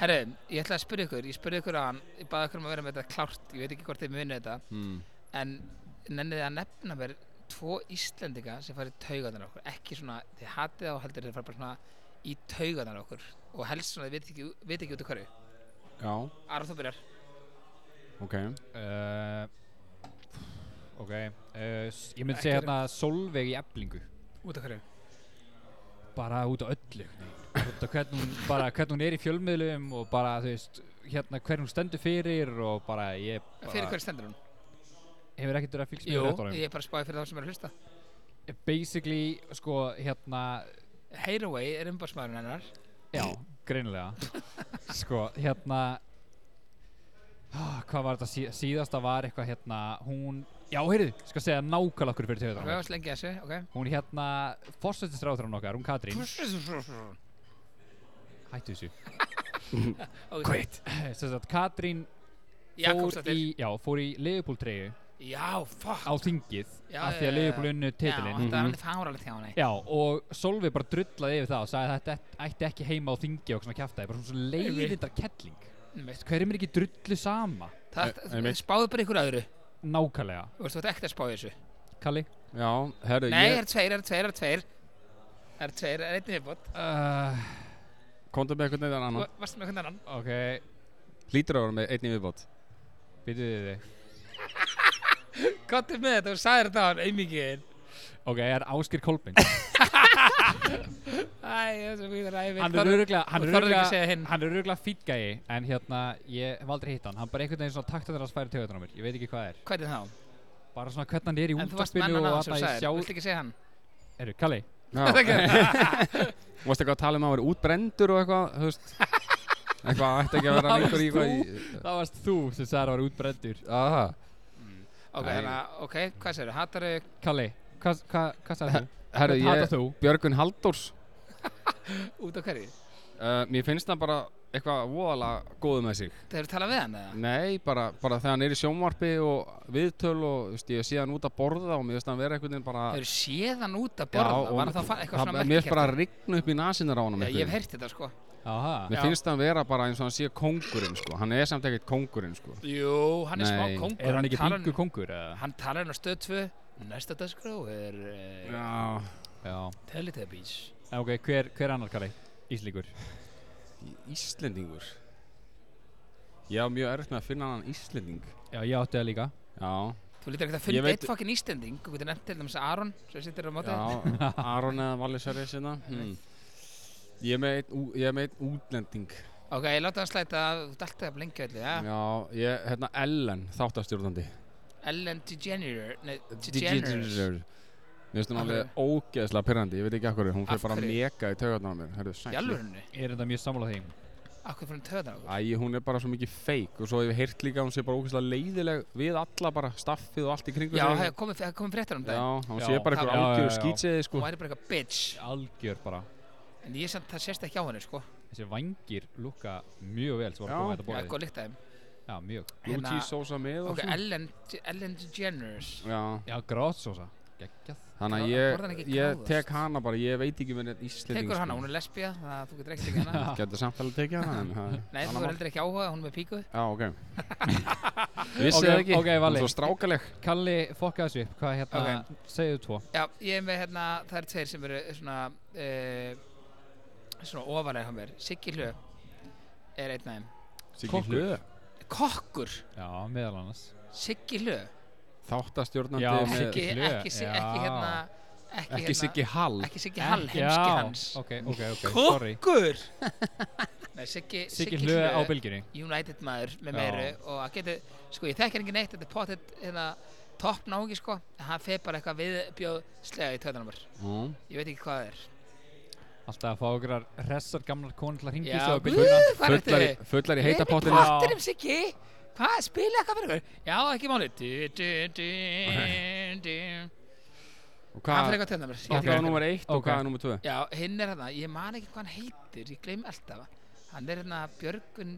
Speaker 2: Herri, ég ætla að spyrja ykkur Ég spurði ykkur að hann, ég baði ykkur um að vera með þetta klárt Ég veit ekki hvort þið munið þetta
Speaker 1: mm.
Speaker 2: En nennið þið að nefna mér Tvo Íslendinga sem farið taugaðan okkur Ekki svona, þið hatið á heldur Þið farið bara svona í taugaðan okkur Og helst svona, þið veit ekki, veit ekki út af hverju
Speaker 1: Já,
Speaker 2: Aron, þú byrjar
Speaker 1: ok
Speaker 4: Uh, ok, uh, s- ég myndi segja
Speaker 2: Ekki
Speaker 4: hérna Solveig í eblingu
Speaker 2: Út af hverju
Speaker 4: Bara út á öllu Út á hvern hún, bara, hvern hún er í fjölmiðlum og bara, þú veist, hérna hvern hún stendur fyrir og bara ég bara,
Speaker 2: Fyrir hverju stendur hún?
Speaker 4: Hefur ekkert verið að fylgst
Speaker 2: Jú,
Speaker 4: með réttunum
Speaker 2: ég er bara að spáði fyrir þá sem er að hlusta
Speaker 4: Basically, sko, hérna,
Speaker 2: Heyraway er umbásmaðurinn hennar
Speaker 4: já, greinilega Sko, hérna ah, Hvað var þetta sí, síðasta var eitthvað hérna, hún Já, heyrðu, skal segja nákvæmlega okkur fyrir
Speaker 2: Ok,
Speaker 4: tegðar
Speaker 2: slengi þessu, ok
Speaker 4: Hún hérna, fórsættisráðurinn okkar, hún Katrín Hættu þessu
Speaker 2: Kveit
Speaker 4: Sem sagt, Katrín fór
Speaker 2: Jakobsdóttir
Speaker 4: í, já, fór í Liverpool treyju
Speaker 2: Já, fuck
Speaker 4: á þingið
Speaker 2: Já,
Speaker 4: af því
Speaker 2: já,
Speaker 4: að
Speaker 2: já,
Speaker 4: Liverpool unnu
Speaker 2: Já,
Speaker 4: titilinn Mhm.
Speaker 2: þetta var alveg fáralegt hjá henni
Speaker 4: Já, og Solvi bara drullaði yfir það og sagði að þetta ætti ekki heima á þingi og svona kjaftaði, bara svona leiðindar kettling
Speaker 2: Einmitt.
Speaker 4: Hverjum er ekki drullu sama?
Speaker 2: Það-
Speaker 1: Nei, nei.
Speaker 2: Spáðu bara ykkur öðru
Speaker 4: Nákvæmlega
Speaker 2: Þú veist, þú ert ekkert að spá í þessu
Speaker 4: Kalli?
Speaker 1: Já, herru,
Speaker 2: Nei, það
Speaker 1: ég
Speaker 2: eru tveir, það eru tveir, það eru tveir Það eru tveir, það er einnig viðbót
Speaker 1: Mm.
Speaker 4: Uh,
Speaker 1: Kontum með eitthvað neðan annan
Speaker 2: Þú varst með hvernig annan
Speaker 4: ok,
Speaker 1: Lítur á vera með einni viðbót
Speaker 4: býtu við þig
Speaker 2: Gottum með þetta, þú sagðir þetta á hann, einmikið
Speaker 4: Ok, það er Áskir Kolbind
Speaker 2: Æ, ég er svo mjög ræði
Speaker 4: Hann er öruglega Hann
Speaker 2: þú
Speaker 4: er
Speaker 2: þorðir ekki að
Speaker 4: öruglega
Speaker 2: segja hinn.
Speaker 4: Hann er öruglega fítgæi En hérna, ég hef aldrei hitt hann Hann bara einhvern veginn svona taktandir hans færi töðunar á mér Ég veit ekki hvað það er
Speaker 2: Hvernig þá?
Speaker 4: Bara svona hvernig hann er í
Speaker 2: En þú varst með
Speaker 4: útvarpinu
Speaker 2: annan
Speaker 4: og
Speaker 2: aðan sem
Speaker 4: hann
Speaker 2: þú
Speaker 4: ég
Speaker 2: sagðir
Speaker 4: sjá
Speaker 2: Viltu ekki segja hann?
Speaker 4: Eru, Kalli?
Speaker 1: Já, varst eitthvað að tala um að hann vera útbrendur og eitthvað, þú veist Eitthvað ætti ekki að vera
Speaker 4: Það varst
Speaker 1: lengur í eitthvað í
Speaker 4: Það varst þú sem sagði að vera útbrendur
Speaker 1: Aha,
Speaker 2: Ok,
Speaker 1: Nei.
Speaker 2: þannig að- ok, hvað segirðu? Hattarðu?
Speaker 4: Kalli, hvað hva, hva sagði þú?
Speaker 1: herru,
Speaker 4: Hvern hatar
Speaker 1: ég
Speaker 4: þú?
Speaker 1: Björgun Halldórs
Speaker 2: Út af hverju?
Speaker 1: uh, Eh, Mér finnst það bara eitthvað voðalega góðu með sig
Speaker 2: Það eru talað við hann eða?
Speaker 1: Nei, bara, bara þegar hann er í sjónvarpi og viðtöl og þú veist, ég sé hann út að borða og mér finnst hann vera einhvern veginn bara
Speaker 2: Það eru séðan út að
Speaker 1: Já,
Speaker 2: borða,
Speaker 1: og-
Speaker 2: var það fa- eitthvað svona
Speaker 1: Mér finnst
Speaker 2: merkikert?
Speaker 1: bara að rigna upp í nasinar á honum
Speaker 2: Já,
Speaker 1: einhvern
Speaker 2: ég hef
Speaker 1: veginn.
Speaker 2: heyrt þetta sko.
Speaker 4: Aha.
Speaker 1: Mér
Speaker 2: Já.
Speaker 1: finnst hann vera bara eins og hann sé kóngurinn sko Hann er samt ekkert kóngurinn sko
Speaker 2: Jú, hann er
Speaker 1: Nei.
Speaker 2: smá kongur.
Speaker 4: Er hann ekki
Speaker 2: talar-
Speaker 4: pingu kongur? eða?
Speaker 2: Hann talar hann á stöð 2, næsta dagskrá er uh,
Speaker 1: Já,
Speaker 4: Já.
Speaker 2: Teletubbies.
Speaker 4: En Ok, hver, hver annar kalli? Íslíkur.
Speaker 1: Íslendingur Ég á mjög erfitt með að finna hann Íslending
Speaker 4: Já, ég átti það líka.
Speaker 1: Já,
Speaker 2: Þú lítur ekkert að
Speaker 1: Ég
Speaker 2: funda
Speaker 1: veit-
Speaker 2: eitt fokkin Íslending, þú getur nefnt til dæmis Aron sem sittir á móti.
Speaker 1: já, Aron eða Valisari sinna hmm. Ég er með einn ú- ég er með einn útlending
Speaker 2: Ok, ég láta hann slæta, þú ert alltaf að blengja öllu, já.
Speaker 1: Já, ég, hérna Ellen, þáttastjórnandi
Speaker 2: Ellen DeGeneres, nei, DeGeneres.
Speaker 1: Mér finnst hún
Speaker 2: Af hverju?
Speaker 1: alveg ógeðslega pyrrandi, ég veit ekki af hverju, hún
Speaker 2: Af
Speaker 1: fyrir bara
Speaker 2: hverju?
Speaker 1: mega í taugarnar á mér, herðu,
Speaker 2: Í
Speaker 1: sækli.
Speaker 2: alvörunni,
Speaker 4: Ég er enda mjög sammála því.
Speaker 2: akkur fyrir töðan okkur.
Speaker 1: Æ, hún er bara svo mikið feik og svo hef ég heyrt líka að hún sé bara ógeðslega leiðileg við alla bara staffið og allt í kringu sig.
Speaker 2: Já, það hefur komið, það komið fréttar um
Speaker 1: Já,
Speaker 2: það.
Speaker 1: hún
Speaker 4: Já.
Speaker 1: sé bara
Speaker 2: Það-
Speaker 1: einhver
Speaker 4: Já, já,
Speaker 1: algjör
Speaker 4: já.
Speaker 1: skýtsiði,
Speaker 2: Hún
Speaker 1: sko.
Speaker 2: væri bara eitthvað bitch,
Speaker 4: Algjör bara.
Speaker 2: en ég samt það sést ekki á henni, sko.
Speaker 4: Þessi vangir lukka mjög vel sem var
Speaker 1: Já.
Speaker 4: að koma þetta
Speaker 2: Já,
Speaker 4: borðið.
Speaker 2: góð líkt að þeim.
Speaker 4: Já, mjög.
Speaker 1: Blue
Speaker 2: Hérna-
Speaker 1: cheese sósa með og
Speaker 2: Ok,
Speaker 1: svona.
Speaker 2: Ellen, Ellen DeGeneres.
Speaker 1: Já,
Speaker 4: Já, grátsósa. Geggjað.
Speaker 1: þannig
Speaker 2: Borðar-
Speaker 1: að
Speaker 2: borðar hann
Speaker 1: ég,
Speaker 2: ekki
Speaker 1: ég
Speaker 2: gráðost?
Speaker 1: tek hana bara, ég veit ekki með neitt íslending, sko.
Speaker 2: Tekur hana, hún er lesbía, það þú getur ekkert ekki hana.
Speaker 1: hún Getur samt alveg tekið hana, en það er
Speaker 2: Nei, þú
Speaker 1: annað
Speaker 2: er
Speaker 1: mál.
Speaker 2: heldur ekki áhuga, hún er með píku.
Speaker 1: Já, ok. Vissið
Speaker 4: Ok,
Speaker 1: það ekki,
Speaker 4: ok,
Speaker 1: hún
Speaker 4: Valli.
Speaker 1: er svo strákaleg.
Speaker 4: Kalli, fokka þessu upp. Hvað hérna, segðu tvo.
Speaker 2: Já, ég er með hérna, það eru tveir sem eru svona uh, svona ofalega hann mér Siggi Hljö er einn af þeim
Speaker 1: Siggi
Speaker 4: Kokkur.
Speaker 1: Hlöð.
Speaker 2: Kokkur,
Speaker 4: Já, meðal annars.
Speaker 2: Siggi Hljö
Speaker 1: Þáttastjórnandi
Speaker 4: Já,
Speaker 1: með...
Speaker 4: Siggi
Speaker 2: ekki,
Speaker 4: Hlö,
Speaker 2: ekki, si-
Speaker 4: já.
Speaker 2: ekki hérna ekki,
Speaker 1: Ekki
Speaker 2: hérna,
Speaker 1: Siggi Hall.
Speaker 2: ekki Siggi Hall,
Speaker 1: Eh,
Speaker 4: Ekki-
Speaker 2: heimski
Speaker 4: Eh, já,
Speaker 2: hans
Speaker 4: Ok, ok, ok, sorry.
Speaker 2: Kokkur Nei, Siggi,
Speaker 4: Siggi hlöð á bylginni.
Speaker 2: United maður með
Speaker 4: Já.
Speaker 2: meiru og að geti, sko ég þekkir ekki neitt þetta er pottet hérna topp náungi sko en hann fer bara eitthvað viðbjóð slega í töðanumar
Speaker 1: Mm.
Speaker 2: ég veit ekki hvað það er
Speaker 4: Alltaf að fá okkur hressar gamlar konur til að ringi
Speaker 2: Já,
Speaker 4: sig á
Speaker 2: guð,
Speaker 4: bylginna.
Speaker 2: hvað er um
Speaker 1: Fullar í,
Speaker 2: þetta?
Speaker 1: fullar í
Speaker 2: Nei,
Speaker 1: heita
Speaker 2: nei,
Speaker 1: pottinu.
Speaker 2: pottinum Siggi Hvað, spila eitthvað fyrir ykkur? Já, ekki máli du, du, du, du.
Speaker 1: Og
Speaker 2: Hann
Speaker 1: hvað
Speaker 2: fyrir eitthvað tönda mér
Speaker 1: hvað er nummer 1 og
Speaker 4: Ok.
Speaker 1: hvað er nummer 2?
Speaker 2: Já, hinn er hérna, ég man ekki hvað hann heitir Ég gleym alltaf Hann er hérna Björgun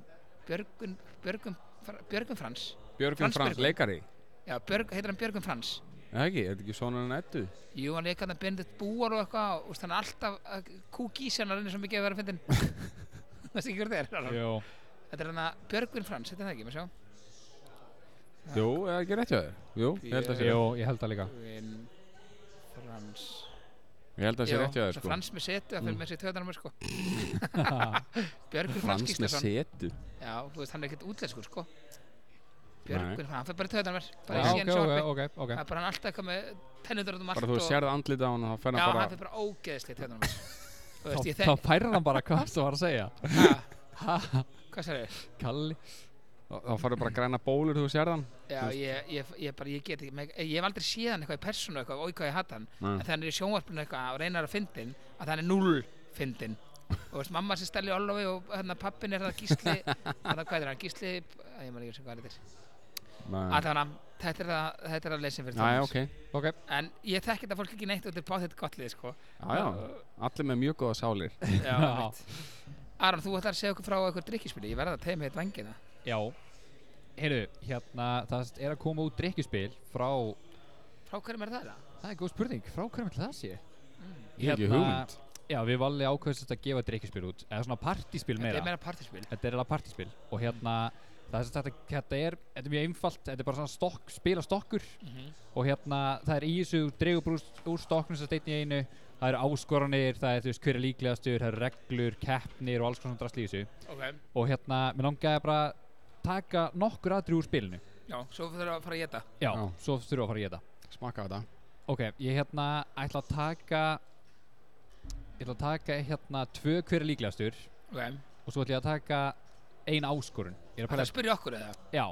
Speaker 2: Björgun, Björgun, Fra- Björgun Frans
Speaker 1: Björgun
Speaker 2: Frans
Speaker 1: Frans,
Speaker 2: Björgun.
Speaker 1: leikari.
Speaker 2: Já, Björg, heitir hann Björgun Frans
Speaker 1: Er það ekki? Er þetta ekki svona en ettu?
Speaker 2: Jú, hann leik hann að Benedikt Búar og eitthvað og úst, hann er alltaf að kúk í sig hann er eins og mikið að vera að fyndin Það sé ekki hver það er
Speaker 4: Jó.
Speaker 2: Þetta er hann að Björgun Frans, heitir það ekki, maður sjá
Speaker 1: Jú, er það ekki rétt hjá þér? Jú, ég held að sé
Speaker 4: Jó, ég held það líka.
Speaker 2: Björgun Frans
Speaker 1: Ég held að sé
Speaker 2: Já,
Speaker 1: rétt hjá þér
Speaker 2: það
Speaker 1: sko.
Speaker 2: Frans með setu, það fyrir með sér töðanum sko. Björgur Frans
Speaker 1: Frans með
Speaker 2: Gíslason
Speaker 1: setu.
Speaker 2: Já, þú veist, hann er ekkert útlenskur sko. Björgur, Frans, hann fyrir bara í töðanum bara
Speaker 4: Já,
Speaker 2: í
Speaker 4: ok,
Speaker 2: síðan
Speaker 4: ok,
Speaker 2: sjálfi
Speaker 4: ok, ok.
Speaker 2: Það er bara hann alltaf eitthvað með tennundur út um allt
Speaker 1: Bara þú
Speaker 2: og-
Speaker 1: sérð andlita á hann og þá
Speaker 2: Já,
Speaker 1: fennar
Speaker 2: hann
Speaker 1: bara...
Speaker 2: fyrir bara ógeðslega í töðanum Þú veist,
Speaker 4: Þá,
Speaker 2: ég
Speaker 4: þá
Speaker 2: þekk
Speaker 4: færir hann bara hvað sem var að segja.
Speaker 2: Ha,
Speaker 4: Ha,
Speaker 2: Hvað sér þau?
Speaker 4: Kalli.
Speaker 1: Þá þá farið bara græna bólur þú sérð hann.
Speaker 2: Já,
Speaker 1: Þú veist.
Speaker 2: ég, ég, ég, bara, ég get ekki meg- Ég hef aldrei séð hann eitthvað í persónu eitthvað og hvað ég hatt hann en
Speaker 1: Nei.
Speaker 2: þegar hann er í sjónvarpinu eitthvað og reynar að fyndin að hann er null fyndin og veist, mamma sem stæli Ólofi og hérna pappin er það gísli hérna hvað er hann, gísli að ég maður ekki sem hvað þetta er
Speaker 1: Nei.
Speaker 2: allavega, þetta er það, þetta er að leysin fyrir
Speaker 1: Já, já,
Speaker 2: Thomas.
Speaker 1: Mm. ok.
Speaker 4: Ok,
Speaker 2: en ég þekki þetta fólk ekki neitt og þetta er bátt þetta gott lið sko
Speaker 1: Já, já. Allir með mjög góða sálir.
Speaker 2: já,
Speaker 4: Já.
Speaker 2: einmitt. Aron, þú ætlar að segja okkur frá eitthvað drikkispili, ég verða að tegja mig eitt vangina
Speaker 4: já. Heyrðu, hérna, það er að koma út drikkjuspil frá...
Speaker 2: frá hverjum er það það?
Speaker 4: Það er góð spurning, frá hverjum ætli það sé?
Speaker 2: Mm.
Speaker 4: Hérna-
Speaker 1: Ég hef ekki hugmynd.
Speaker 4: Já, við valið ákveðsist að gefa drikkjuspil út, eða svona partíspil
Speaker 2: Þetta
Speaker 4: meira.
Speaker 2: er meira partyspil
Speaker 4: Þetta er alveg partíspil og hérna, það er sem sagt að þetta er, þetta er mjög einfalt, þetta er bara svona stokk, spila stokkur og hérna það er í þessu dreigur bara úr- úr stokknum sem steinn í einu það eru áskoranir, það er þú veist hver er líklegastur það eru reglur, keppnir og alls konar drasli í þessu
Speaker 2: ok,
Speaker 4: og hérna, mér langaði bara að taka nokkur aðri úr spilinu
Speaker 2: já, svo þurfum við að fara að geta
Speaker 4: já,
Speaker 1: Já.
Speaker 4: svo þurfum við að fara í þetta
Speaker 1: Smakka þetta.
Speaker 4: ok, ég hérna ætla að taka ég ætla að taka hérna tvö hver er líklegastur
Speaker 2: ok,
Speaker 4: og svo ætla ég að taka ein áskorun ég er að
Speaker 2: það
Speaker 4: pæla,
Speaker 2: að spyrja okkur eða
Speaker 4: já,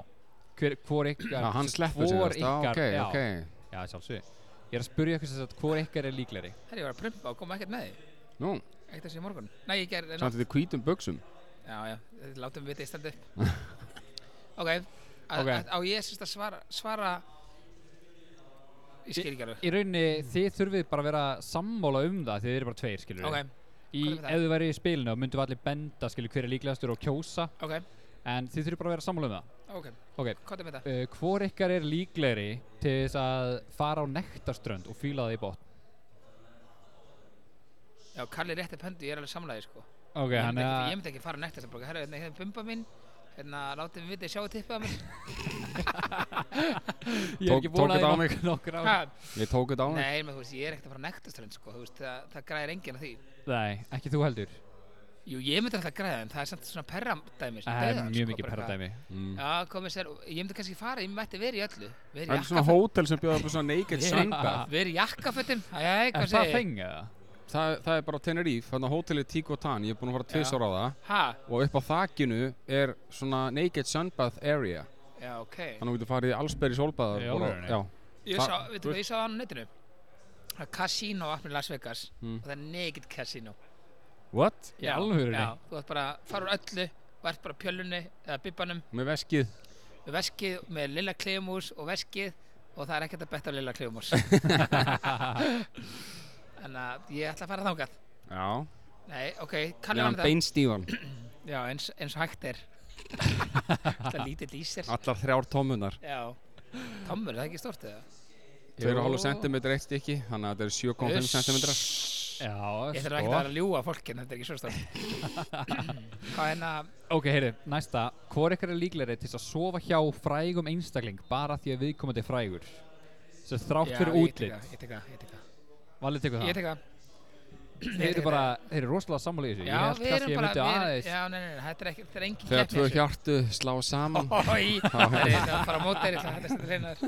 Speaker 4: hver, hvor ykkar
Speaker 1: Já, hann
Speaker 4: sem sagt,
Speaker 1: sleppur
Speaker 4: hvor
Speaker 1: sér. Já, ok,
Speaker 4: ykkar, já,
Speaker 1: ok.
Speaker 4: já, sjálfsög ég er að spyrja ykkur sem sagt hvor ykkar er líklegri
Speaker 2: herri, ég var að prumpa og koma ekkert með því
Speaker 1: Nú,
Speaker 2: ekkert þessi morgun, nei, ég ger
Speaker 1: samt þetta er hvítum buksum.
Speaker 2: Já, já, þetta látum við vita í standi Ok, a,
Speaker 4: Ok.
Speaker 2: A, á ég sérst að svara, svara Ég skil ekki alveg
Speaker 4: í rauninni þið þurfið bara að vera sammála um það þið eru bara tveir skilur
Speaker 2: Ok,
Speaker 4: í,
Speaker 2: Hvað er það?
Speaker 4: ef þið væri í spilinu og myndum við allir benda skilur hver er líklegastur og kjósa
Speaker 2: Ok,
Speaker 4: en þið þurfum bara að vera sammála um það
Speaker 2: ok,
Speaker 4: ok,
Speaker 2: hvað er með það?
Speaker 4: uh, hvor ykkar er líklegri til þess að fara á nektarströnd og fíla það í botn
Speaker 2: Já, Kalli rétti upp höndu, ég er alveg samlaði sko
Speaker 4: ok,
Speaker 2: Ég
Speaker 4: hann
Speaker 2: myndi
Speaker 4: er
Speaker 2: ekki,
Speaker 4: að
Speaker 2: ég myndi ekki fara nægt þess að bara, herra, hérna, hérna, bumba mín Hérna, látið við vitið sjá að tippið á mér
Speaker 4: ég er
Speaker 1: Tók-
Speaker 4: ekki
Speaker 1: tók
Speaker 4: búin að
Speaker 1: þetta á
Speaker 4: því
Speaker 1: mig.
Speaker 4: nokk- nokkur á
Speaker 2: Ha,
Speaker 1: Ég tók þetta á mig
Speaker 2: Nei, menn, þú veist, ég er ekkert að fara nægt þess sko Þú veist, það, það græðir enginn að því
Speaker 4: nei, ekki þú heldur
Speaker 2: Jú, ég myndi alltaf græða, en það er samt svona perradæmi sem
Speaker 4: það er
Speaker 2: dauðar,
Speaker 4: Eh, mjög
Speaker 2: sko,
Speaker 4: mikið
Speaker 2: bara eitthvað.
Speaker 4: perradæmi
Speaker 1: mm.
Speaker 2: Já, komið sér, ég myndi kannski fara, ég mætti verið í öllu Verið
Speaker 1: Það
Speaker 2: í
Speaker 1: er svona
Speaker 2: jakkaföt-
Speaker 1: hótel sem bjóða upp á svona naked
Speaker 2: Verið-
Speaker 1: sunbath
Speaker 2: verið í jakkafötum, hæ,
Speaker 4: er
Speaker 2: hvað
Speaker 4: það
Speaker 2: segir
Speaker 4: fengið það?
Speaker 1: það, það er bara á Tenerife, þannig að hótelið Tíkotan, ég er búin að fara tvisar á það
Speaker 2: Ha,
Speaker 1: og upp á þakinu er svona naked sunbath area
Speaker 2: já, ok
Speaker 1: þannig að þú getur farið í allsberi sólbaðar
Speaker 4: Í
Speaker 1: og,
Speaker 4: alvörunni?
Speaker 1: já,
Speaker 2: Ég
Speaker 1: Það-
Speaker 2: sá, veitum hvað, ég sá það á netinu Það er Casino aftur í Las Vegas
Speaker 1: Mm.
Speaker 2: og það er naked casino
Speaker 1: what?
Speaker 4: Í alvörunni?
Speaker 2: Já, þú ert bara að fara úr öllu og ert bara á pjölunni eða bibbanum
Speaker 1: með veskið
Speaker 2: með veskið, með lilla kleumús og veskið og það er ekkert að betta á lilla kleumús Þannig að uh, ég ætla að fara þangað
Speaker 1: já,
Speaker 2: Nei, ok,
Speaker 1: með
Speaker 2: kallar
Speaker 1: hann
Speaker 2: hann um það
Speaker 1: beinstífan
Speaker 2: Já, eins, eins og hægt er Það lítill í sér
Speaker 1: allar þrjár tómunar
Speaker 2: Já, Tomur, er það ekki stórt eða?
Speaker 1: 2,5 cm eitt stykki, þannig að þetta er 7,5 cm
Speaker 4: já,
Speaker 2: Ég þarf ekki að
Speaker 4: sko
Speaker 2: vera að ljúga fólkin, þetta er ekki svo stórt Hvað hérna- er það?
Speaker 4: ok, heyri, næsta hvor ykkar er líklegri til þess að sofa hjá frægum einstakling bara því að viðkomandi er frægur þess að þrátt
Speaker 2: Já,
Speaker 4: fyrir
Speaker 2: ég tek
Speaker 4: útlit
Speaker 2: það, Ég tek það, ég tek það
Speaker 4: valið tekur
Speaker 2: Ég
Speaker 4: það
Speaker 2: tek það
Speaker 4: þeir eru bara, þeir eru rosalega sammála í þessu
Speaker 2: Já,
Speaker 4: ég held
Speaker 2: við
Speaker 4: kannski
Speaker 2: erum
Speaker 4: ég
Speaker 2: bara
Speaker 4: myndi
Speaker 2: við-
Speaker 4: aðeins
Speaker 2: Já, nei, nei, nei, þetta er ekki, þetta er engin
Speaker 1: þegar tvö
Speaker 2: hjá
Speaker 1: hjartu slá saman
Speaker 2: Ói, það er það að fara á mót þeirri Þetta er þetta reynar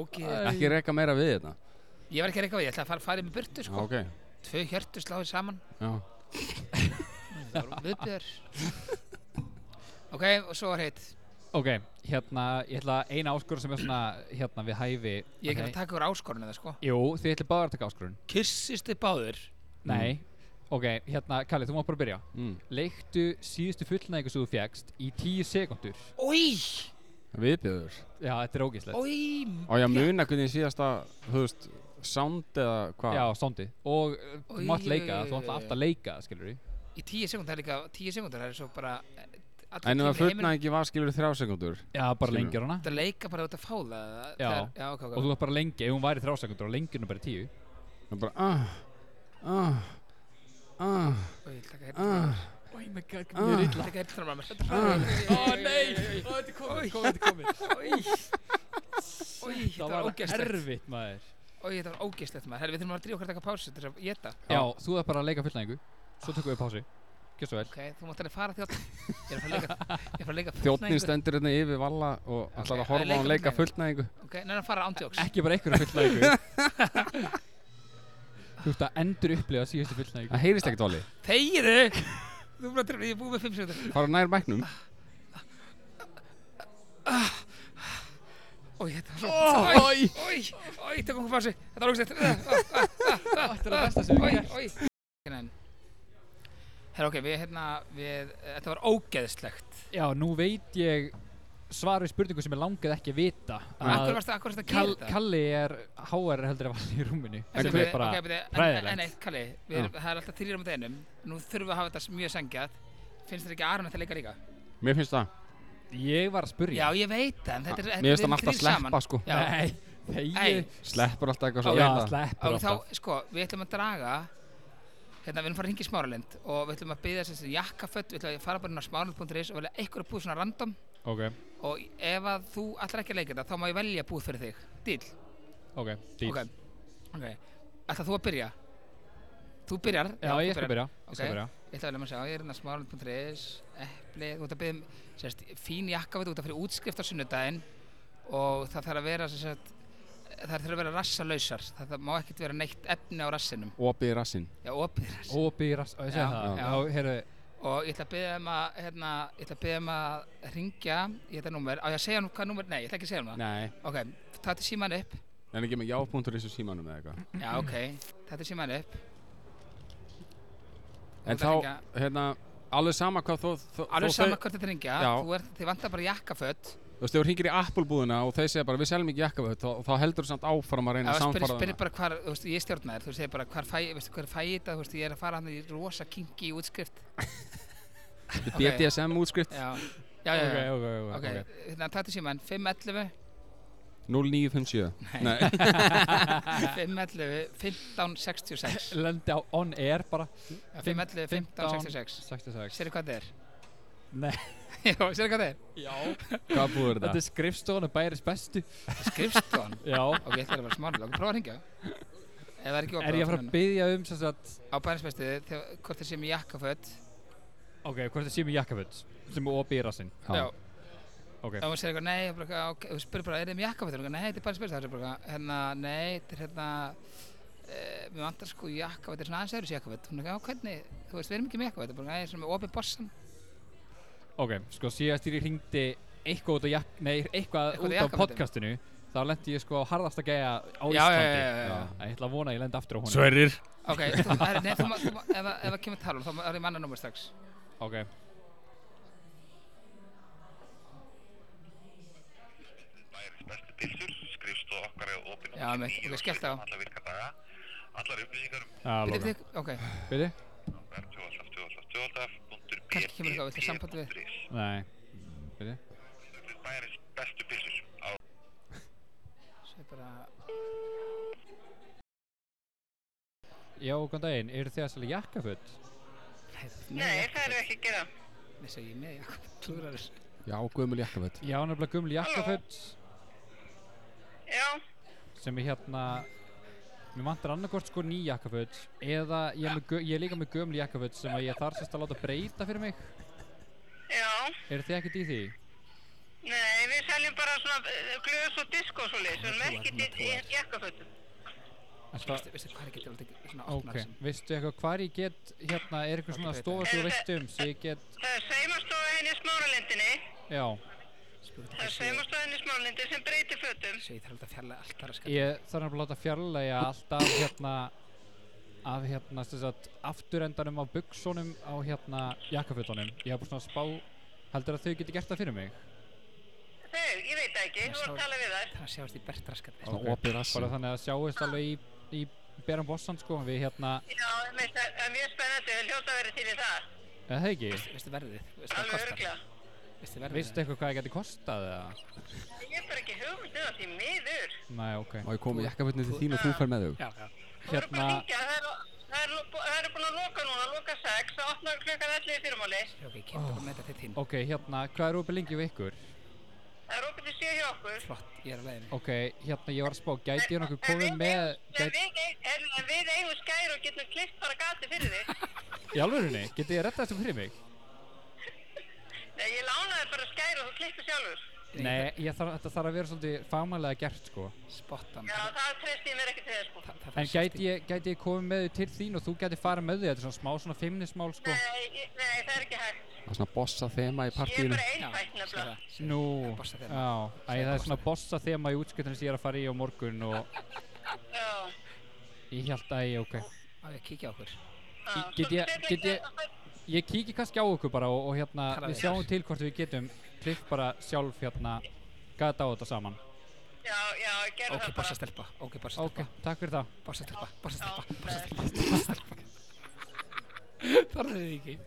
Speaker 2: Ógið
Speaker 1: ekki reka meira við þetta
Speaker 2: Ég var ekki að reyka á því, ég ætla að fara, fara í mig burtu
Speaker 1: já,
Speaker 2: sko
Speaker 1: ok,
Speaker 2: Tvö hjörtu sláði saman
Speaker 1: já
Speaker 2: Það var viðbjör Ok, og svo var heitt
Speaker 4: ok, hérna, ég ætla að eina áskorun sem er svona, hérna, við hæfi
Speaker 2: Ég er ekki
Speaker 4: Ok.
Speaker 2: að taka úr áskorinu það sko
Speaker 4: jú, þið ætla bara að taka áskorun
Speaker 2: Kyssistu báður
Speaker 4: nei, ok, hérna, Kalli, þú má bara byrja
Speaker 1: mm.
Speaker 4: leiktu síðustu fullnæðingu sem þú fjækst í tíu sekundur
Speaker 2: Ói,
Speaker 1: viðbjöður
Speaker 4: já, þetta er ógíslegt
Speaker 2: ói
Speaker 1: og ég muna hvernig síðasta, þú veist sound eða hvað
Speaker 4: já, stóndi, og uh, þú
Speaker 2: Oj,
Speaker 4: mátt
Speaker 2: oj,
Speaker 4: leika,
Speaker 2: oj,
Speaker 4: það, þú
Speaker 2: oj,
Speaker 4: mátt
Speaker 2: oj.
Speaker 4: alltaf leika, það, skilur við
Speaker 2: Í tíu sekundar líka, tíu sekundar það er svo bara eh, allir
Speaker 1: en ef það
Speaker 2: tímar í heiminum-
Speaker 1: fullna ekki var skilur þrjá sekundur
Speaker 4: já, bara
Speaker 1: Skilurðu.
Speaker 4: lengjur hana
Speaker 2: Þetta leika bara út að fá það
Speaker 4: Já.
Speaker 2: það er- já ok, ok
Speaker 4: og þú mátt bara lengja, ef hún væri þrjá sekundur og lengjur hún bara í tíu
Speaker 1: og bara ah, ah, ah,
Speaker 2: Oj, ég ætla að taka hérna
Speaker 1: ah.
Speaker 4: oh my god,
Speaker 1: mér er
Speaker 2: Þetta er hérna frá mér
Speaker 4: ó nei, ó, þetta er komið, komið, þetta er komið
Speaker 2: Ói,
Speaker 4: það
Speaker 2: þetta var
Speaker 4: var
Speaker 2: ógæstlegt
Speaker 4: erfitt, maður
Speaker 2: Ói, þetta var ógæstlegt maður Herri, við þurfum að drífa okkur að taka pásu til þess að geta
Speaker 4: Já, þú þarf bara að leika fullnæðingu Svo tökum við pási Gjörstu vel
Speaker 2: Ok, þú mátt alveg fara þjótt Ég er að fara að leika Ég er að fara að leika
Speaker 1: Þjóttnin
Speaker 2: fullnægingu.
Speaker 1: stendur hérna yfir valla og ætlar
Speaker 2: Ok,
Speaker 1: að horfa á hann
Speaker 2: leika
Speaker 1: leika
Speaker 2: fullnægingu.
Speaker 1: fullnæðingu.
Speaker 2: Ok, neina að fara ándjóks
Speaker 4: Ekki bara einhverja fullnæðingu Þú ert að endur upplifa síðustu fullnæðingu
Speaker 1: Það heyrist ekkert vali.
Speaker 2: Þegiðu Þú er bara að trefna, ég er búið með 5 sekundur
Speaker 1: Fara nær mæknum.
Speaker 2: Ói, þetta var Ói, ói, ói, tökum okkur pásu Þetta var ógæstlegt
Speaker 4: Þetta er að besta sem við gert
Speaker 2: Ói, ói Herra, ok, við hérna, við Þetta var ógeðslegt
Speaker 4: Já, nú veit ég svar við spurningu sem ég langaði ekki að vita
Speaker 2: Akkur
Speaker 4: að
Speaker 2: varst akkur varstu að gera
Speaker 4: Kall,
Speaker 2: þetta
Speaker 4: Kalli er háar heldur að valda í rúminu
Speaker 2: En
Speaker 4: sem
Speaker 2: við-
Speaker 4: er bara
Speaker 2: ok, beti, en,
Speaker 4: hræðilegt.
Speaker 2: en, en, Kalli, við erum, það er alltaf þrýra mot einum Nú þurfum við að hafa þetta mjög sengjað Finnst þér ekki að Aron ætti að leika líka?
Speaker 1: Mér finnst það.
Speaker 4: Ég var að
Speaker 2: Já,
Speaker 4: spurja
Speaker 2: ég veit það, en þetta er
Speaker 1: Mér finnst hann alltaf sleppa sko.
Speaker 2: Já,
Speaker 4: Nei, þegi
Speaker 2: Ei.
Speaker 1: Sleppur alltaf eitthvað svo.
Speaker 4: Já,
Speaker 1: Já,
Speaker 4: sleppur
Speaker 2: og þá,
Speaker 4: alltaf
Speaker 2: sko, við ætlum að draga Hérna, við erum að fara að ringa í Smáralind og við ætlum að byggja þessi jakkafött, við ætlum að fara bara inn á smáralind.is og velja einhverja búð svona random
Speaker 4: Ok,
Speaker 2: og ef að þú ætlar ekki að leika þetta, þá má ég velja búð fyrir þig. Díl?
Speaker 4: ok, dýl
Speaker 2: Ok. Ok. Ætlar þú að byrja? Þú byrjar?
Speaker 4: Já,
Speaker 2: þú
Speaker 4: ég
Speaker 2: byrjar.
Speaker 4: skal byrja Ég skal
Speaker 2: Ok.
Speaker 4: byrja
Speaker 2: Ég ætla að velja maður að sjá, ég er hérna smáralind.is, epli, þú ert að byggja um sérst, fín jakka við þú ert að fyrir útskrift á sunnudaginn og það þarf að vera sérst, það þarf að vera rassalausar, það, það má ekkert vera neitt efni á rassinum,
Speaker 1: opið í rassinn.
Speaker 2: já, opið rass.
Speaker 4: Og býrast, og ég segja
Speaker 2: Já,
Speaker 4: það
Speaker 2: já.
Speaker 4: Já, heyrðu,
Speaker 2: Og ég ætla að byggja um að, hérna, ég ætla að byggja um að ringja í þetta númer, á ég að segja hann hvað númer, nei, ég ætla ekki að segja hann það.
Speaker 1: Nei.
Speaker 2: Ok, tættu síman upp,
Speaker 1: En ekki með jápunktur í þessu símanum eða eitthvað.
Speaker 2: já, ok, tættu síman upp,
Speaker 1: En
Speaker 2: Það er
Speaker 1: þá, hérna, alveg sama hvað þú... þú-
Speaker 2: alveg
Speaker 1: þú-
Speaker 2: sama hvort þetta ringja,
Speaker 1: Já.
Speaker 2: þú ert, þið vantar bara jakkaföt
Speaker 1: þú veist, ef þú hringir í Apple búðina og þeir segja bara við seljum ekki jakkaföt þá, þá heldur þú samt áfram að reyna að
Speaker 2: Ef spyrir,
Speaker 1: samfara
Speaker 2: spyrir bara hvar, þú veist, ég stjórna þér, þú segir bara hvar fæ, veistu, hver fæ ég þetta, þú veist, ég er að fara hann í rosa kinky útskrift.
Speaker 1: Þetta
Speaker 2: ok.
Speaker 1: er BDSM útskrift
Speaker 2: Já, já, já, já.
Speaker 4: ok, ok,
Speaker 2: Eh, Ok, hérna,
Speaker 4: ok.
Speaker 2: þannig að tættu síman, 511,
Speaker 1: 0957 Nei,
Speaker 2: 511, 1566.
Speaker 4: Lendi á on air bara
Speaker 2: Já, 511, 1566.
Speaker 4: 66
Speaker 2: Sérðu hvað þetta er?
Speaker 4: Nei.
Speaker 2: Jó, sérðu hvað þetta er?
Speaker 4: Já
Speaker 1: hvað búður
Speaker 4: Þetta
Speaker 1: það?
Speaker 4: er skrifstofan og bæris bestu
Speaker 2: Skrifstofan.
Speaker 4: Já
Speaker 2: ok, ég ætla að vera smánulega, ok, prófa að ringja. Ef það er ekki
Speaker 4: Er ég að fara að
Speaker 2: opið
Speaker 4: byggja um sem sagt
Speaker 2: á bærinsbæstið, þegar hvort þeir séu með jakkaföt,
Speaker 4: Ok, hvort það sé með jakkaföld sem er opið í rassinn
Speaker 2: já,
Speaker 4: Ok
Speaker 2: og hún segir eitthvað, nei, ég bara, eitthvað, ok, þú spyrir bara, er þið með jakkafötur? Nei, þetta er bara spyrir það, er bara, eitthvað, hérna, nei, þetta er hérna, e, mér vantar sko jakkaföt, þetta er svona aðeins öðru sér jakkaföt. Hún er eitthvað, "Já, hvernig, þú veist, við erum ekki með jakkaföt, bara, nei, svona með opið bossan,
Speaker 4: Ok, sko síðast þegar ég hringdi eitthvað út á, jak nei, eitthvað
Speaker 2: Eitthvað í
Speaker 4: út á
Speaker 2: jakkafatinu.
Speaker 4: podcastinu þá lendi ég sko á harðasta gæja á
Speaker 2: Já, já,
Speaker 4: Íslandi
Speaker 2: já, já, já.
Speaker 4: Ég ætla að vona að ég lendi aftur á honum
Speaker 1: Sverrir
Speaker 2: ok, þú, er, nei, þú, ma- þú, ma- ef það- ef það kemur talum, þá er ég manna nummer strax.
Speaker 4: Ok
Speaker 3: Bæris bestu pilsur, skrifstof okkar er opinn
Speaker 2: Já, með, ok, skellt á.
Speaker 3: Alla virka daga, allar upplýsingar um
Speaker 4: Já,
Speaker 2: Býttu,
Speaker 4: loka
Speaker 2: býttu, ok,
Speaker 4: Veitu?
Speaker 2: Kannski kemur eitthvað, viltu samband við?
Speaker 3: .bp.is
Speaker 4: Nei
Speaker 3: Bæris bestu pilsur á
Speaker 2: svo er bara,
Speaker 4: Já, góðan daginn, eru þið að selja jakkaföld?
Speaker 2: nei, þú ert með
Speaker 3: Nei, það
Speaker 2: jakkaföt.
Speaker 3: erum við ekki að gera
Speaker 2: Nei, svo ég er með jakkaföt, klúðrar þessu.
Speaker 1: Já, guðmul jakkaföt
Speaker 4: Já, nefnilega gumli jakkaföld
Speaker 3: Já,
Speaker 4: sem er hérna Mér vantar annarkort sko ný jakkaföld eða ég er, með, gö- ég er líka með gömli jakkaföld sem að ég þarf sérst að láta breyta fyrir mig
Speaker 3: já,
Speaker 4: Eru þið ekkert í því?
Speaker 3: nei, við seljum bara svona eh, glös og disk og svo leys Við erum ekki í jakkafötum
Speaker 4: Ertu að-
Speaker 2: Veistu- veistu hvað er ekki til að þetta- svona
Speaker 4: Ok,
Speaker 2: opnar þessu?
Speaker 4: veistu eitthvað hvar ég get hérna, er eitthvað svona
Speaker 2: Ekki
Speaker 4: stofa sem þú veist um sem ég get,
Speaker 3: Það er saumastofa henni í smáralendinni
Speaker 4: já
Speaker 2: Spurðu
Speaker 3: Það
Speaker 2: þetta
Speaker 3: er
Speaker 2: þessu.
Speaker 3: saumastofa henni í smáralendi sem breytir fötum
Speaker 2: Svo ég þarf alltaf að fjarlæga allt þar að skalla.
Speaker 4: ég þarf nefnilega að láta fjarlæga allt af hérna af hérna, sem sagt, afturendanum á buksónum á hérna jakkafötunum ég hef búin svona að spá heldur að þau geti gert það fyrir mig
Speaker 3: Þau, ég veit það ekki,
Speaker 2: Ég
Speaker 3: þú voru
Speaker 2: sá-
Speaker 3: að tala við þær
Speaker 2: Það sjáast í bert raskat.
Speaker 4: Ok.
Speaker 1: opið rassinn.
Speaker 4: bara þannig að sjáist alveg í, í beran bossan sko, við hérna
Speaker 3: Já, ég meist, það er mjög spennandi, við hljóta að vera til í það
Speaker 4: eða það ekki,
Speaker 2: Veistu verðið? Veistu hvað
Speaker 3: Alveg
Speaker 2: kostar?
Speaker 3: örgla
Speaker 2: Veistu verðið?
Speaker 4: veistu eitthvað hvað ég geti kostað eða,
Speaker 3: Ég er bara ekki hugmynd um það því miður
Speaker 4: næ, ok
Speaker 1: Má ég koma í jakkafötni til þín og þú fer með þau?
Speaker 2: Já, já.
Speaker 3: Þú voru bara að
Speaker 4: Hérna-
Speaker 3: hringja, það er- það er lo- það eru búin að loka núna, loka 6 og opna klukkan 11 í fyrirmáli
Speaker 2: Ok, ég kemur oh. með þetta til þín.
Speaker 4: ok, hérna, hvað er opið lengi við ykkur?
Speaker 3: Það er opið til 7 hjá okkur
Speaker 2: Flott, ég er á leiðinni.
Speaker 4: ok, hérna, ég var að spá, gæti ég nokkuð
Speaker 3: En við
Speaker 4: komið með
Speaker 3: eigum- En
Speaker 4: gæti,
Speaker 3: við, eig- en, en við eigum skæri og getum klippt bara gati fyrir þig
Speaker 4: í alvörunni, geti ég rettað þessu fyrir mig?
Speaker 3: Nei, ég lánaði bara skæri og þú klippir sjálfur
Speaker 4: Nei, ég þarf, þetta þarf að vera svolítið fagmælega gert sko
Speaker 2: Spottan.
Speaker 3: Já, það treysti ég mér ekki til þess sko
Speaker 2: Það, það
Speaker 4: En gæti ég, gæti ég komið með þau til þín og þú gæti farið með þau Þetta er svona smá svona feimnismál sko
Speaker 3: Nei, ég- nei, það er ekki hægt
Speaker 1: Það er svona bossa þema í
Speaker 3: Ég er
Speaker 1: partíinu
Speaker 3: bara
Speaker 2: Já,
Speaker 3: einfætt nefnilega
Speaker 2: skilja.
Speaker 4: Nú,
Speaker 2: bossa þema.
Speaker 4: já, æ,
Speaker 2: Segðu
Speaker 4: það er
Speaker 2: bossa
Speaker 4: svona bossa þema í útskiptunum sem ég er að fara í á morgun og
Speaker 3: Já,
Speaker 4: ég held að ég, ok
Speaker 2: Á, ég að kíkja á okkur.
Speaker 3: já,
Speaker 4: Ég- get ég-
Speaker 3: svolítið
Speaker 4: get ég-
Speaker 3: seinna-
Speaker 4: Ég kíki kannski á okkur bara og, og hérna,
Speaker 2: Tala
Speaker 4: við
Speaker 2: við
Speaker 4: sjáum til hvort við getum klipp bara sjálf hérna gata á þetta saman
Speaker 3: Já, já, ég gerði
Speaker 2: Ok,
Speaker 3: það bara
Speaker 2: bossa stelpa. Ok, bossa
Speaker 4: Ok,
Speaker 2: stelpa.
Speaker 4: takk fyrir það
Speaker 2: Bossa stelpa. Bossa
Speaker 3: Já,
Speaker 2: stelpa.
Speaker 3: nei.
Speaker 2: Þorðu þið ekki.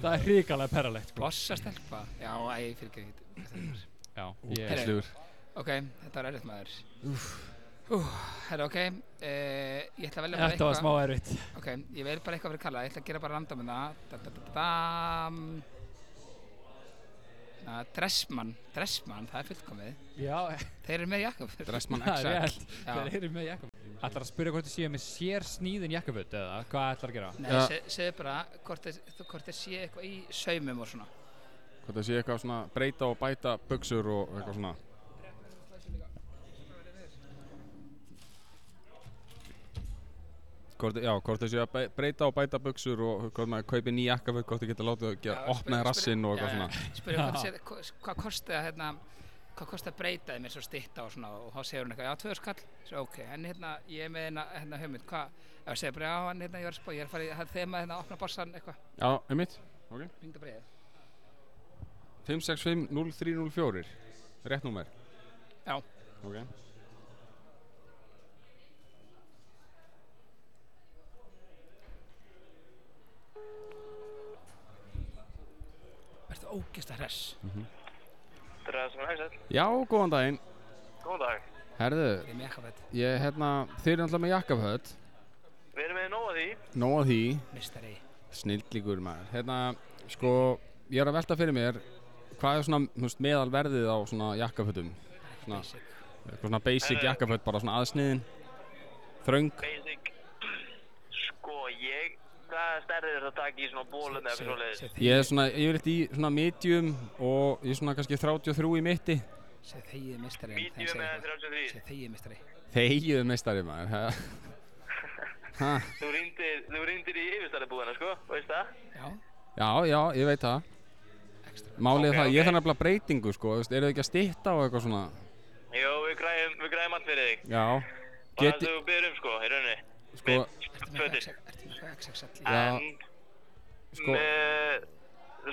Speaker 4: Það er hrikalega perralegt sko
Speaker 2: Bossa stelpa. Já, æ, fyrir ekki þetta.
Speaker 4: Já,
Speaker 2: Herra.
Speaker 4: ég,
Speaker 1: Útgæslugur
Speaker 2: Ok, þetta var erfitt maður. Úf. Herra, ok. eh, Ég ætla að velja bara
Speaker 4: þetta var smá erfitt
Speaker 2: Ok, ég verð bara eitthvað fyrir kalla, ég ætla að gera bara random það da, da, da, da, da. Na, Dressmann, Dressmann, það er fullkomið
Speaker 4: Já,
Speaker 2: Þeir eru með Jakob
Speaker 1: Dressmann
Speaker 4: það
Speaker 1: XL
Speaker 4: er rétt Þeir eru með jakkaföt Ætlar að spyrja hvort þið séu með sér sníðin jakkaföt eða hvað ætlar að gera?
Speaker 2: Nei,
Speaker 1: Já.
Speaker 2: se, segðu bara hvort þeir, þú- hvort þeir sé eitthvað í saumum og svona
Speaker 1: Hvað það sé eitthvað svona breyta og bæta buksur og eitthvað svona Hvort, já, hvort þessi að be- breyta og bæta buksur og hvort maður kaupi ný jakkaföt, hvort þið geta látið að gera, opna í rassinn og eitthvað svona.
Speaker 2: Spurðu hvort þeir sé, hva- hvað kosti að hérna hvað kosti að breyta þeim eins og stytta og svona og þá segir hún eitthvað, já, tvöður skall svo, ok, en hérna, ég er með hérna, hérna hugmynd hvað, ef ég segir bara, já, en hérna, ég var að spá ég er að fara í það þema, hérna, opna bossan, eitthvað
Speaker 1: Já, einmitt. Ok.
Speaker 2: ringda breyðið
Speaker 1: 565 0304. Rétt númer?
Speaker 2: Já.
Speaker 1: Ok.
Speaker 2: Verður ógist að hress.
Speaker 1: Hm.
Speaker 3: Draðsson Hagsell.
Speaker 1: Já, góðan daginn.
Speaker 3: Góðan dag.
Speaker 1: Herðu,
Speaker 2: Það er mjög ekkert
Speaker 1: ég, hérna, þið eru alltaf með jakkaföld.
Speaker 3: Við erum með nóg að því.
Speaker 1: Nóa því.
Speaker 2: mistari.
Speaker 1: Snildlíkur maður. Hérna, sko, ég er að velta fyrir mér, hvað er svona, þú veist, meðalverðið á svona jakkaföldum? Svona,
Speaker 2: Basic.
Speaker 1: eitthvað svona
Speaker 3: Eh.
Speaker 1: basic jakkaföld, bara svona aðsniðin. Þröng.
Speaker 3: Basic. Sko, ég... Hvað stærðir þetta að taka í svona bólum eða svo leiðis?
Speaker 2: Segð
Speaker 1: Ég er svona, ég er í svona medium og ég er svona kannski 33 í mitti.
Speaker 2: þegið mistari.
Speaker 3: Medium eða 33?
Speaker 2: Segð þegið mistari.
Speaker 1: Þegiðu meistari maður. Hæ?
Speaker 3: Þú rýndir, þú rýndir í yfirstæðarbúðina, sko, veist það?
Speaker 2: Já,
Speaker 1: Já, já, ég veit það.
Speaker 2: ekstra.
Speaker 1: Málið
Speaker 3: Ok,
Speaker 1: er það,
Speaker 3: ok.
Speaker 1: ég þarf nefnilega breytingu sko, þú veist, eru þið ekki að stitta á eitthvað svona?
Speaker 3: Jó, við græðum, við græðum allt fyrir þig.
Speaker 1: Já,
Speaker 3: Bara
Speaker 1: get
Speaker 3: Geti... þú byrjum, sko, í rauninni.
Speaker 1: sko,
Speaker 2: Ertu með
Speaker 3: Fötir.
Speaker 2: XXL? Ertu með XXL?
Speaker 1: Já.
Speaker 3: En,
Speaker 1: sko,
Speaker 3: með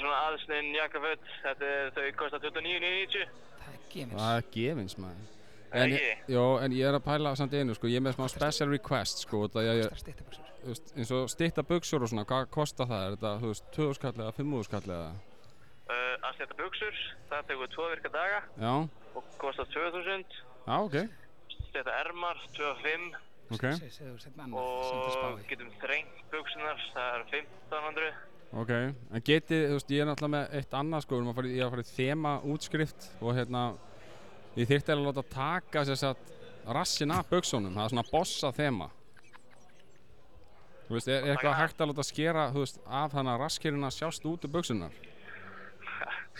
Speaker 3: svona aðsninn jakkaföld, þetta er, þau kostar 29,90.
Speaker 2: Það er gemins.
Speaker 1: það er gefins maður.
Speaker 3: Er
Speaker 1: En,
Speaker 3: ekki?
Speaker 1: jó, en ég er að pæla samt í einu sko, ég er með smá special request sko, út af því að ég,
Speaker 2: Það er stýttabuxur.
Speaker 1: þú veist, eins og stitta buksur og svona, hvað kostar það? Er þetta, þú veist, 2000 kall eða 5000 kall eða?
Speaker 3: Uh, að setja buksur, það tekur tvo virka daga
Speaker 1: Já,
Speaker 3: og kostar 2000.
Speaker 1: já, ok,
Speaker 3: Setja ermar, 25
Speaker 1: ok,
Speaker 2: Segð þú setna annað sem það
Speaker 3: og
Speaker 2: spáði.
Speaker 3: getum þrengt buksunar, það er 1500.
Speaker 1: ok. En getið, þú veist, ég er náttúrulega með eitt annað sko, við erum að fara í- ég er að fara í þema útskrift og hérna, ég þyrfti eiginlega að láta taka sér satt rassin af buksunum, það er svona bossa þema. Þú veist, er, er eitthvað hægt að láta skera, þú veist, af þannig að raskirina sjást út úr buksunar?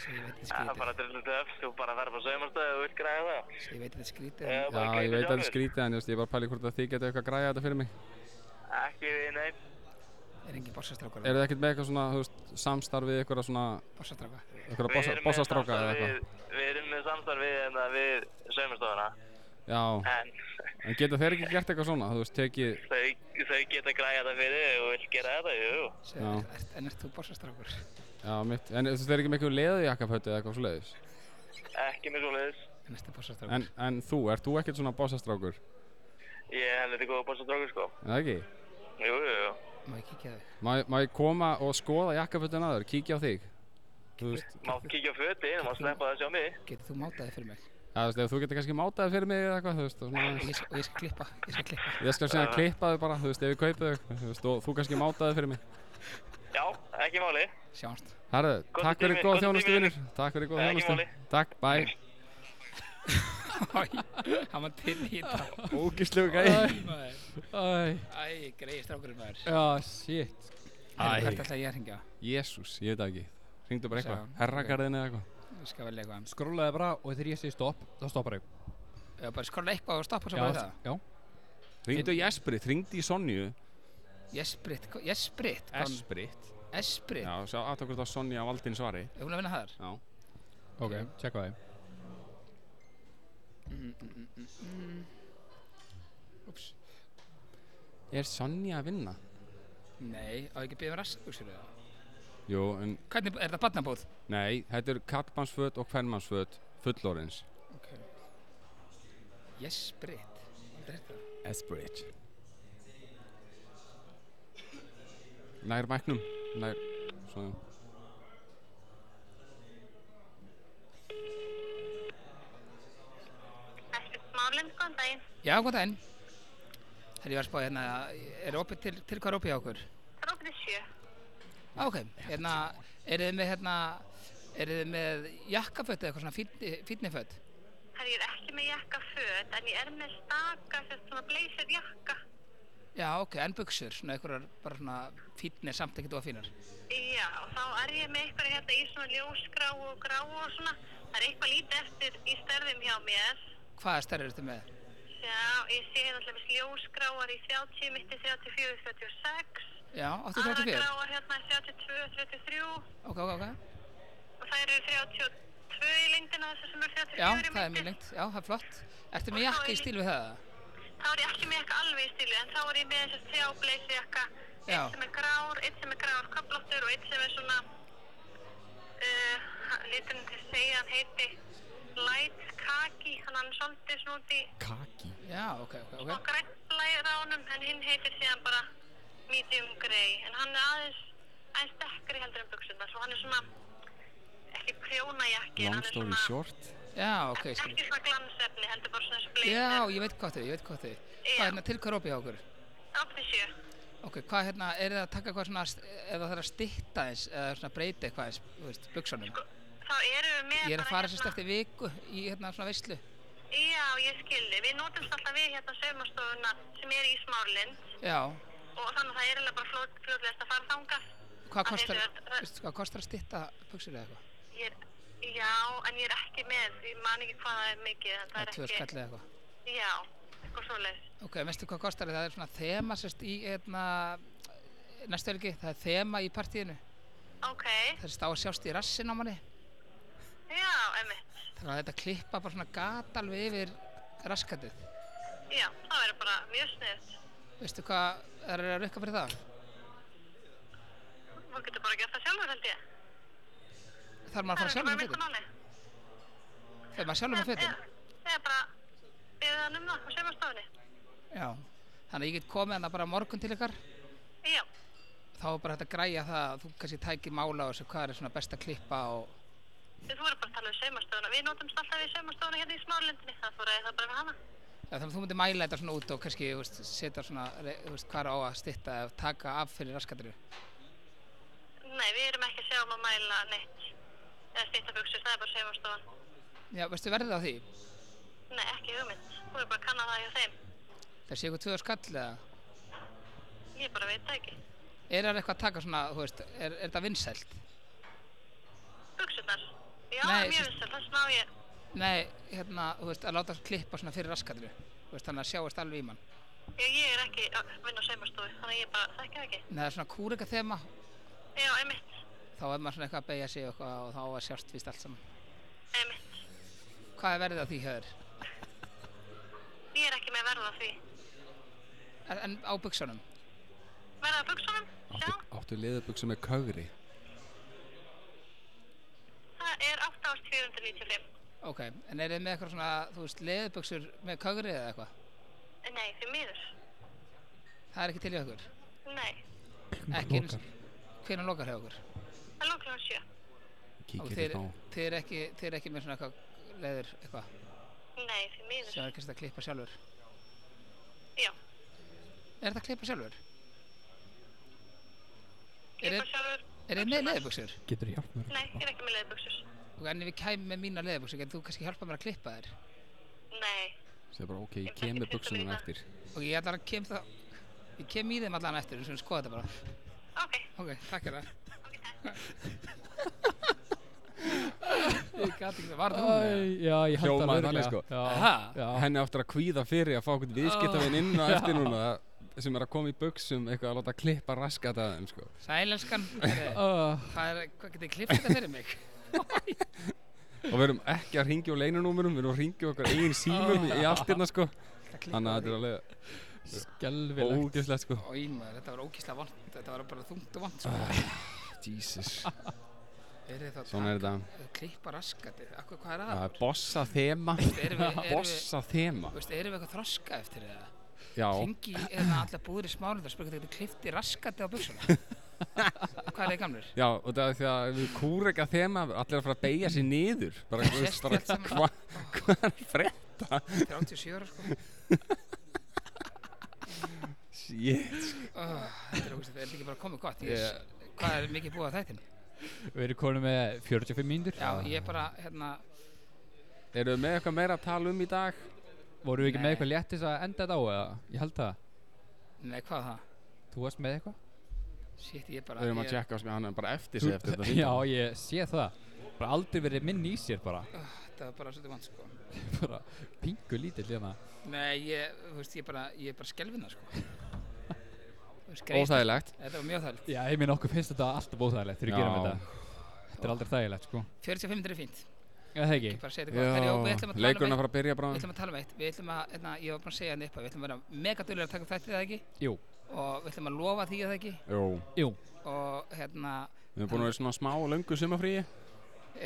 Speaker 2: Segð ég veit þetta
Speaker 3: Það er
Speaker 2: skrítið.
Speaker 3: bara drillu töf, þú bara þarf að saumarstaði og vilt græða það.
Speaker 2: Segð ég veit þetta skrítið.
Speaker 3: Eða
Speaker 2: en-
Speaker 1: Já,
Speaker 3: bara
Speaker 1: ég veit að
Speaker 3: gleypir
Speaker 1: það er
Speaker 3: sjálfur.
Speaker 1: skrítið en ég veist, ég er bara að pæli hvort að þið geta eitthvað að græja þetta fyrir mig.
Speaker 3: Ekki við neinn.
Speaker 2: Er engin borsastrákur?
Speaker 1: Er þið ekkert með eitthvað svona, þú veist, samstarfið eitthvað svona,
Speaker 2: Borsastráka?
Speaker 1: eitthvað
Speaker 3: Við
Speaker 1: bossa,
Speaker 3: erum með
Speaker 1: bossastráka
Speaker 3: samstarf
Speaker 1: eða eitthvað?
Speaker 3: við- Við erum með samstarf við, hérna, við saumarstofuna,
Speaker 1: Já,
Speaker 3: en
Speaker 1: en geta þeir ekki gert eitthvað svona, þú veist, tekið,
Speaker 3: þau, þau geta græða það fyrir þig og vilt gera þetta, jú.
Speaker 1: Já.
Speaker 2: Segð, ert- en ert þú borsastrákur?
Speaker 1: já, mitt, en þú veist, þeir eru ekki með eitthvað leðujakkafötu eða eitthvað svoleiðis.
Speaker 3: Ekki með svoleiðis.
Speaker 2: En ert þú
Speaker 1: En,
Speaker 2: borsastrákur?
Speaker 1: en þú, ert þú ekkert svona bossastrákur?
Speaker 3: Ég er heldur góð að bossa sko.
Speaker 1: Er það ekki?
Speaker 3: Jú, jú, jú.
Speaker 2: Má ég kíkja á þig?
Speaker 1: Má, má ég koma og skoða jakkafötun aður, kíkja á þig? Þú veist,
Speaker 3: Má kíkja á fötin, má sleppa það að sjá mig.
Speaker 2: Getur þú mátaði fyrir mig?
Speaker 1: Já, þú veist, ef þú getur kannski mátaði fyrir mig eða eitthvað, þú veist, og svona
Speaker 2: Og
Speaker 1: aðeins.
Speaker 2: ég og ég skal klippa. Ég skal klippa.
Speaker 1: Ég skal síðan klippa þau bara, þú veist, ef ég kaupi þau, þú veist, og þú kannski mátaði fyrir mig.
Speaker 3: Já, ekki máli.
Speaker 2: Sjáumst.
Speaker 1: Herðu,
Speaker 3: Góður
Speaker 1: takk fyrir
Speaker 3: tími,
Speaker 1: góða
Speaker 3: góður
Speaker 1: þjónustu,
Speaker 3: tími,
Speaker 1: vinnur. Takk fyrir góða
Speaker 3: Ekki
Speaker 1: þjónustu.
Speaker 3: máli.
Speaker 1: Takk, bæ.
Speaker 2: Æ, hann var til í þetta.
Speaker 1: Ógislegu gæði.
Speaker 4: Æ,
Speaker 2: Æ, greiði strákurinn maður.
Speaker 4: já, shit
Speaker 2: Æ. Hvert
Speaker 1: Æ,
Speaker 2: ætla ég að hringja?
Speaker 1: jésús, ég veit það ekki. Ringdu bara eitthvað,
Speaker 2: Sjá.
Speaker 1: herragarðin eða eitthvað.
Speaker 2: Ég skal velja eitthvað.
Speaker 4: Skrólaði bara og þegar ég segi stopp, þá stoppar ég
Speaker 2: Já, bara skrolla eitthvað og stoppa svo bara það.
Speaker 4: já
Speaker 1: Ringdu í Esprit, ringdu í Sonju.
Speaker 2: Jesprit, hva- Jesprit, hvað hún-
Speaker 1: Esprit.
Speaker 2: Esprit,
Speaker 1: Já, sjá aðtökur þá Sonja valdinn svari.
Speaker 2: er hún að vinna þar?
Speaker 1: Já.
Speaker 4: Ok, tjekka það
Speaker 2: Úps,
Speaker 1: Er Sonja að vinna?
Speaker 2: nei, á ekki að um byrja með rassbuxur eða?
Speaker 1: Jú, en
Speaker 2: Hvernig, er það barnabóð?
Speaker 1: Nei, þetta eru kallmannsföt og hvernmannsföt fullorins.
Speaker 2: Ok. Jesprit, hvað er þetta?
Speaker 5: Esbridge.
Speaker 1: Nær mæknum, nær, svona.
Speaker 3: Ekkert málinn, góðan daginn.
Speaker 2: Já, hvað það enn? Þegar ég var að spáði hérna, er opið til, til hvað er opið á okkur?
Speaker 3: Það er okkur í sjö.
Speaker 2: Á, ok, hérna, eru þið með hérna, eru þið með jakkaföt eða eitthvað svona fínni- fínni föt?
Speaker 3: Það er ekki með jakka föt, en ég er með staka, sérst svona blazer jakka.
Speaker 2: Já, ok, en buxur, svona einhverjar bara svona fínni samt ekkert og fínar.
Speaker 3: Já, og þá er ég með eitthvað hérna í svona ljósgrá og grá og svona. Það er eitthvað lítið eftir í stærðum hjá mér.
Speaker 2: Hvaða stærri eru þetta með?
Speaker 3: Já, ég sé hérna alltaf ljósgráar í 30, mitti 34, 36.
Speaker 2: Já, 834?
Speaker 3: Aðalgráar hérna er 32, 33
Speaker 2: Ok, ok, ok.
Speaker 3: og þær eru 32 í lengdina þessu sem eru 34
Speaker 2: Já, það
Speaker 3: í
Speaker 2: er
Speaker 3: mitti.
Speaker 2: mjög lengt. Já, það er flott. Ertu með
Speaker 3: Og þá
Speaker 2: jakka
Speaker 3: er
Speaker 2: í
Speaker 3: lí-
Speaker 2: stíl við það?
Speaker 3: Þá er ég ekki með eitthvað alveg í stílu, en þá er ég með þessar þrjá blazejakka,
Speaker 2: Já.
Speaker 3: einn sem er grár, einn sem er grár köflóttur og einn sem er svona, uh, lítur hann til að segja hann heiti, light kaki, hann hann er svolítið svona út í
Speaker 1: Kaki
Speaker 2: Já, ok, ok,
Speaker 3: og
Speaker 2: ok.
Speaker 3: grænt lægir á honum en hinn heitir síðan bara medium grey en hann er aðeins aðeins dekkri heldur en buksunar svo hann er svona ekki prjónajakki
Speaker 5: Long
Speaker 3: en hann er
Speaker 5: story
Speaker 3: svona
Speaker 5: short
Speaker 2: Já, ok, skil.
Speaker 3: ekki svona glansefni heldur bara svona split
Speaker 2: Já, ég veit hvað þið, ég veit hvað þið. Hvað
Speaker 3: Já.
Speaker 2: er hérna til hvað rópið á okkur?
Speaker 3: átti sjö
Speaker 2: Ok, hvað hérna, er það að taka eitthvað svona, st- eða það er að stytta eins, eða svona breyta eitthvað eins, þú veist, buksunum?
Speaker 3: þá erum við með
Speaker 2: Ég er að
Speaker 3: bara
Speaker 2: fara sérst
Speaker 3: hérna-
Speaker 2: eftir viku í hérna svona veislu.
Speaker 3: já ég skildi við nótumst alltaf við hérna sömastofuna sem er í Smárlind
Speaker 2: Já,
Speaker 3: og þannig að það er eiginlega bara fljót, fljótlegast að fara þangað
Speaker 2: hvað
Speaker 3: Að
Speaker 2: kostar,
Speaker 3: þetta- það-
Speaker 2: veistu hvað kostar að stytta buksur eða eitthvað?
Speaker 3: ég er, já en ég er ekki með ég man ekki hvað það er mikið en það
Speaker 2: Það
Speaker 3: er
Speaker 2: er tvö
Speaker 3: ekki
Speaker 2: skall eða eitthvað.
Speaker 3: já eitthvað svoleiðis
Speaker 2: Ok, veistu hvað kostar það? Það er svona þema sérst í hérna, næstu helgi, það er þema í partíinu.
Speaker 3: Ok,
Speaker 2: Það er stá að sjást í rassin á manni.
Speaker 3: já, emmitt.
Speaker 2: Þannig að þetta klippa bara svona gat alveg yfir raskatið.
Speaker 3: Já, það verður bara mjög sniðt.
Speaker 2: Veistu hvað, er það rukka fyrir það?
Speaker 3: Þú getur bara gert það sjálfur, held ég.
Speaker 2: Þarf maður að fara sjálfur með fötin?
Speaker 3: máli.
Speaker 2: Þarf maður sjálfur með fötin?
Speaker 3: Það er bara, við erum um það á sömastofunni.
Speaker 2: Já. Þannig að ég get komið hana bara á morgun til ykkar.
Speaker 3: Já,
Speaker 2: Þá er bara hægt að græja það að þú kannski tækir mála á þessu hvað er svona best að klippa og...
Speaker 3: þú verður bara að tala um sömastofuna. Við notumst alltaf við sömastofuna hérna í smálindinni. Það fór að það bara við hana.
Speaker 2: Já, þannig að þú myndir mæla þetta svona út og kannski þú veist, setja svona, re- þú veist, hvað er á að stytta eða taka af fyrir raskatirinu.
Speaker 3: Nei, við erum ekki að sjá um að mæla neitt. Eða stýta buksur, það er bara sömastofan.
Speaker 2: Já, veistu verðið á því?
Speaker 3: Nei, ekki hugmynd. Þú verður bara að kanna það hjá þeim.
Speaker 2: Það sé eitthvað tvöðu skall eða?
Speaker 3: Ég bara veit það ekki.
Speaker 2: Er það eitthvað að taka svona, þú veist, er, er það vinsælt?
Speaker 3: Buksurnar. Já,
Speaker 2: Nei,
Speaker 3: mjög
Speaker 2: sem-
Speaker 3: vissar. Þess vegna á ég.
Speaker 2: Nei, hérna, þú veist, að láta klippa svona fyrir raskatirinu. Þú veist, þannig að sjáist alveg í mann.
Speaker 3: Ég, ég er ekki að vinna á sömastofu, þannig að ég bara þekki það ekki.
Speaker 2: Nei, það er svona kúrika þema,
Speaker 3: Já, einmitt,
Speaker 2: þá er maður svona eitthvað að beigja sig og, eitthvað og þá á að sjást vist allt saman.
Speaker 3: einmitt.
Speaker 2: Hvað er verðið á því höður?
Speaker 3: Ég er ekki með verð á því.
Speaker 2: En, en á buksunum?
Speaker 3: Verð á buksunum? Já,
Speaker 1: Áttu, áttu leðubuksu með kögri
Speaker 3: það er 8495.
Speaker 2: Ok, en er þið með eitthvað svona, þú veist, leðubuksur með kögrið eða eitthvað?
Speaker 3: Eh, Nei, því miður.
Speaker 2: Það er ekki til í okkur.
Speaker 3: Nei,
Speaker 2: Ekki eins Hvernig lokar hjá okkur?
Speaker 3: það er lóknum sjö.
Speaker 2: Og
Speaker 5: Kíkir
Speaker 2: þeir,
Speaker 5: þér á
Speaker 2: þeir, eru ekki, þeir eru ekki með svona eitthvað leður eitthvað
Speaker 3: Nei, því miður.
Speaker 2: sem það er kannski að klippa sjálfur.
Speaker 3: Já,
Speaker 2: Er þetta að klippa sjálfur? Er
Speaker 3: ég
Speaker 2: þið-
Speaker 3: bara sjálfur.
Speaker 2: Er þið með leðubuksur?
Speaker 6: Getur hjálp mér?
Speaker 3: Nei, ég er ekki með leðbuksur.
Speaker 2: Og en ef ég kæmi með mína leðubuksur, getur þú kannski hjálpað mér að klippa þér?
Speaker 3: Nei,
Speaker 1: Segðu bara ok, ég
Speaker 3: Ég
Speaker 1: kem
Speaker 3: þekki
Speaker 1: með buksunum
Speaker 3: tilfinninguna.
Speaker 1: eftir
Speaker 2: Og ég allar að kem það, ég kem í þeim allan eftir, við skulum skoða þetta bara.
Speaker 3: ok,
Speaker 2: Ok, takk fyrir það.
Speaker 3: ok, takk.
Speaker 2: Ég gæti ekki það, var það hún? eða?
Speaker 4: Æ, já, ég held
Speaker 1: Hljómaði
Speaker 4: alveg
Speaker 1: þannig,
Speaker 4: örugglega.
Speaker 1: sko.
Speaker 4: Já,
Speaker 2: Ha?
Speaker 4: já.
Speaker 1: Henni áttur að kvíða fyrir að fá okkur viðskiptavinn inn og eftir núna sem er að koma í buksum eitthvað að láta klippa raskat að þeim sko.
Speaker 2: Sælenskan, hvað,
Speaker 4: Uh,
Speaker 2: er, hvað getið klippað þetta fyrir mig?
Speaker 1: og við erum ekki að ringja á leinunúmurum við erum að ringja okkar eigin símum í alltirna sko. þannig að þetta er alveg
Speaker 4: Skelvilegt
Speaker 1: ógeðslegt sko.
Speaker 2: Í maður, þetta var ógíslega vond, þetta var bara þungt og vond, sko.
Speaker 1: Jesus,
Speaker 2: Er þið þá að
Speaker 1: Ah, svona er þetta Ah.
Speaker 2: taka- klippa raskatið, akkur hvað er
Speaker 1: Það
Speaker 2: að?
Speaker 1: er bossa þema
Speaker 2: Erum við, erum við,
Speaker 1: Bossa þema
Speaker 2: þú veist, erum við eitthvað þroska eftir það?
Speaker 1: Já,
Speaker 2: Hengi í eða allar búður í smálið og spurgið þetta klippti raskatið á buksuna. hvað er þið gamlir?
Speaker 1: já og það er því að við kúra ekki að þema Allir að fara að beigja sér niður Bara, þú veist,
Speaker 2: Sést
Speaker 1: bara
Speaker 2: allt saman.
Speaker 1: hvað hva er að frétta
Speaker 2: 37 ára, sko.
Speaker 1: Shit
Speaker 2: Oh, þetta er ógíslega, þetta er líka bara komið gott. Ég,
Speaker 1: Ég-
Speaker 2: Hvað er mikið búið að þættin?
Speaker 4: Við erum konum með 45 mínútur
Speaker 2: Já, ég er bara, hérna,
Speaker 1: Eru við með eitthvað meira að tala um í dag?
Speaker 4: Vorum við ekki
Speaker 2: Nei.
Speaker 4: með eitthvað léttis að enda þetta á eða? Ég held það
Speaker 2: nei, hvað var það?
Speaker 4: Þú varst með eitthvað?
Speaker 2: Shit, ég bara,
Speaker 1: Við erum að
Speaker 2: ég,
Speaker 1: tjekka á sem hann er bara eftir sig eftir þetta
Speaker 4: Já,
Speaker 1: símtal.
Speaker 4: ég sé það Bara aldrei verið minn í sér bara
Speaker 2: þetta var bara svolítið vant, sko.
Speaker 4: Bara pingu lítill hérna
Speaker 2: Nei, ég, þú veist, ég bara, ég er bara skelvinna, sko. Þú veist, greyst-
Speaker 1: Óþægilegt
Speaker 2: Þetta var mjög þægilegt.
Speaker 4: Já, ég minn okkur finnst þetta alltaf óþægilegt Þegar við
Speaker 1: Já.
Speaker 4: gerum þetta Þetta er aldrei þægilegt sko
Speaker 2: 45 er fínt,
Speaker 4: Eða það ekki?
Speaker 2: ég bara segja þetta gott. Herjó, við ætlum
Speaker 1: Já,
Speaker 2: að tala um
Speaker 1: leikurinn
Speaker 2: eitt-
Speaker 1: að fara að byrja
Speaker 2: Við
Speaker 1: bráðum
Speaker 2: ætlum að tala um eitt, við ætlum að, hérna, ég var bara að segja hann upp að við ætlum að vera mega dölur að taka upp þættið eða ekki
Speaker 4: Jú,
Speaker 2: og við ætlum að lofa því eða ekki
Speaker 1: Jú,
Speaker 4: jú
Speaker 2: og hérna,
Speaker 1: við erum búin að vera í svona smá og löngu sumafríi
Speaker 2: já,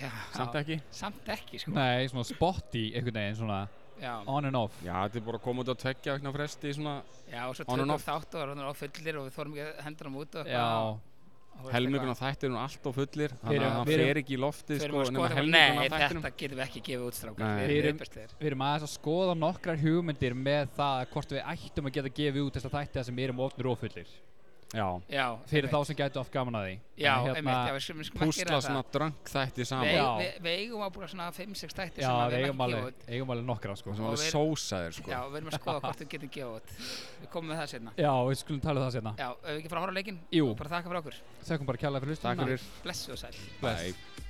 Speaker 2: Já,
Speaker 1: samt ekki
Speaker 2: Samt ekki, sko.
Speaker 4: Nei, svona spotty einhvern veginn, svona
Speaker 2: Já,
Speaker 4: on and off.
Speaker 1: Já, þetta er bara að koma út að tveggja vegna fresti í svona
Speaker 2: já, og svo
Speaker 1: On and
Speaker 2: tökum
Speaker 1: off.
Speaker 2: þátt og það er ofullir og við þorum ekki að hendur hann út og
Speaker 4: Já,
Speaker 2: og- og-
Speaker 1: helminguna þættir hún allt og fullir
Speaker 4: Við
Speaker 1: þannig
Speaker 4: erum-
Speaker 1: að hann
Speaker 4: við erum-
Speaker 1: fer ekki í loftið
Speaker 2: Við erum
Speaker 1: sko,
Speaker 2: að
Speaker 1: nema
Speaker 2: skoða bara,
Speaker 1: helmingurinn af
Speaker 2: Nei,
Speaker 1: þættinum
Speaker 2: þetta getum við ekki gefið út strákar.
Speaker 1: Nei.
Speaker 2: Við
Speaker 4: Við
Speaker 2: erum
Speaker 4: erum-
Speaker 2: uppestir.
Speaker 4: við erum aðeins að skoða nokkrar hugmyndir með það hvort við ættum að geta gefið út þessa þætti þar sem erum ofnir ofullir
Speaker 1: Já,
Speaker 2: Já,
Speaker 4: fyrir
Speaker 2: einmitt.
Speaker 4: þá sem gætu oft gaman að því
Speaker 2: Já,
Speaker 4: En hérna
Speaker 2: einmitt, já, við skulum við skulum ekki
Speaker 1: púsla
Speaker 2: gera
Speaker 1: svona
Speaker 2: það.
Speaker 1: drönk þætti
Speaker 2: Við,
Speaker 1: saman
Speaker 4: Já.
Speaker 2: eigum- við, við eigum að búið svona 5-6 þættir
Speaker 4: já,
Speaker 2: sem að
Speaker 4: við eigum
Speaker 2: ekki gefa
Speaker 4: alveg,
Speaker 2: út.
Speaker 4: eigum alveg nokkra sko
Speaker 1: og sem
Speaker 2: Og
Speaker 1: alveg
Speaker 2: við-
Speaker 1: sósaðir sko
Speaker 2: Já, við erum að skoða hvort við getum gefa út. Við komum með það sérna.
Speaker 4: Já, við skulum tala um það sérna
Speaker 2: Já, ef við ekki fara að horfa á leikinn,
Speaker 4: Jú.
Speaker 2: bara þakka fyrir okkur.
Speaker 4: Þakkum bara kjærlega fyrir hlustunum
Speaker 1: Takk fyrir
Speaker 2: Blessu og sæl.
Speaker 1: Bye.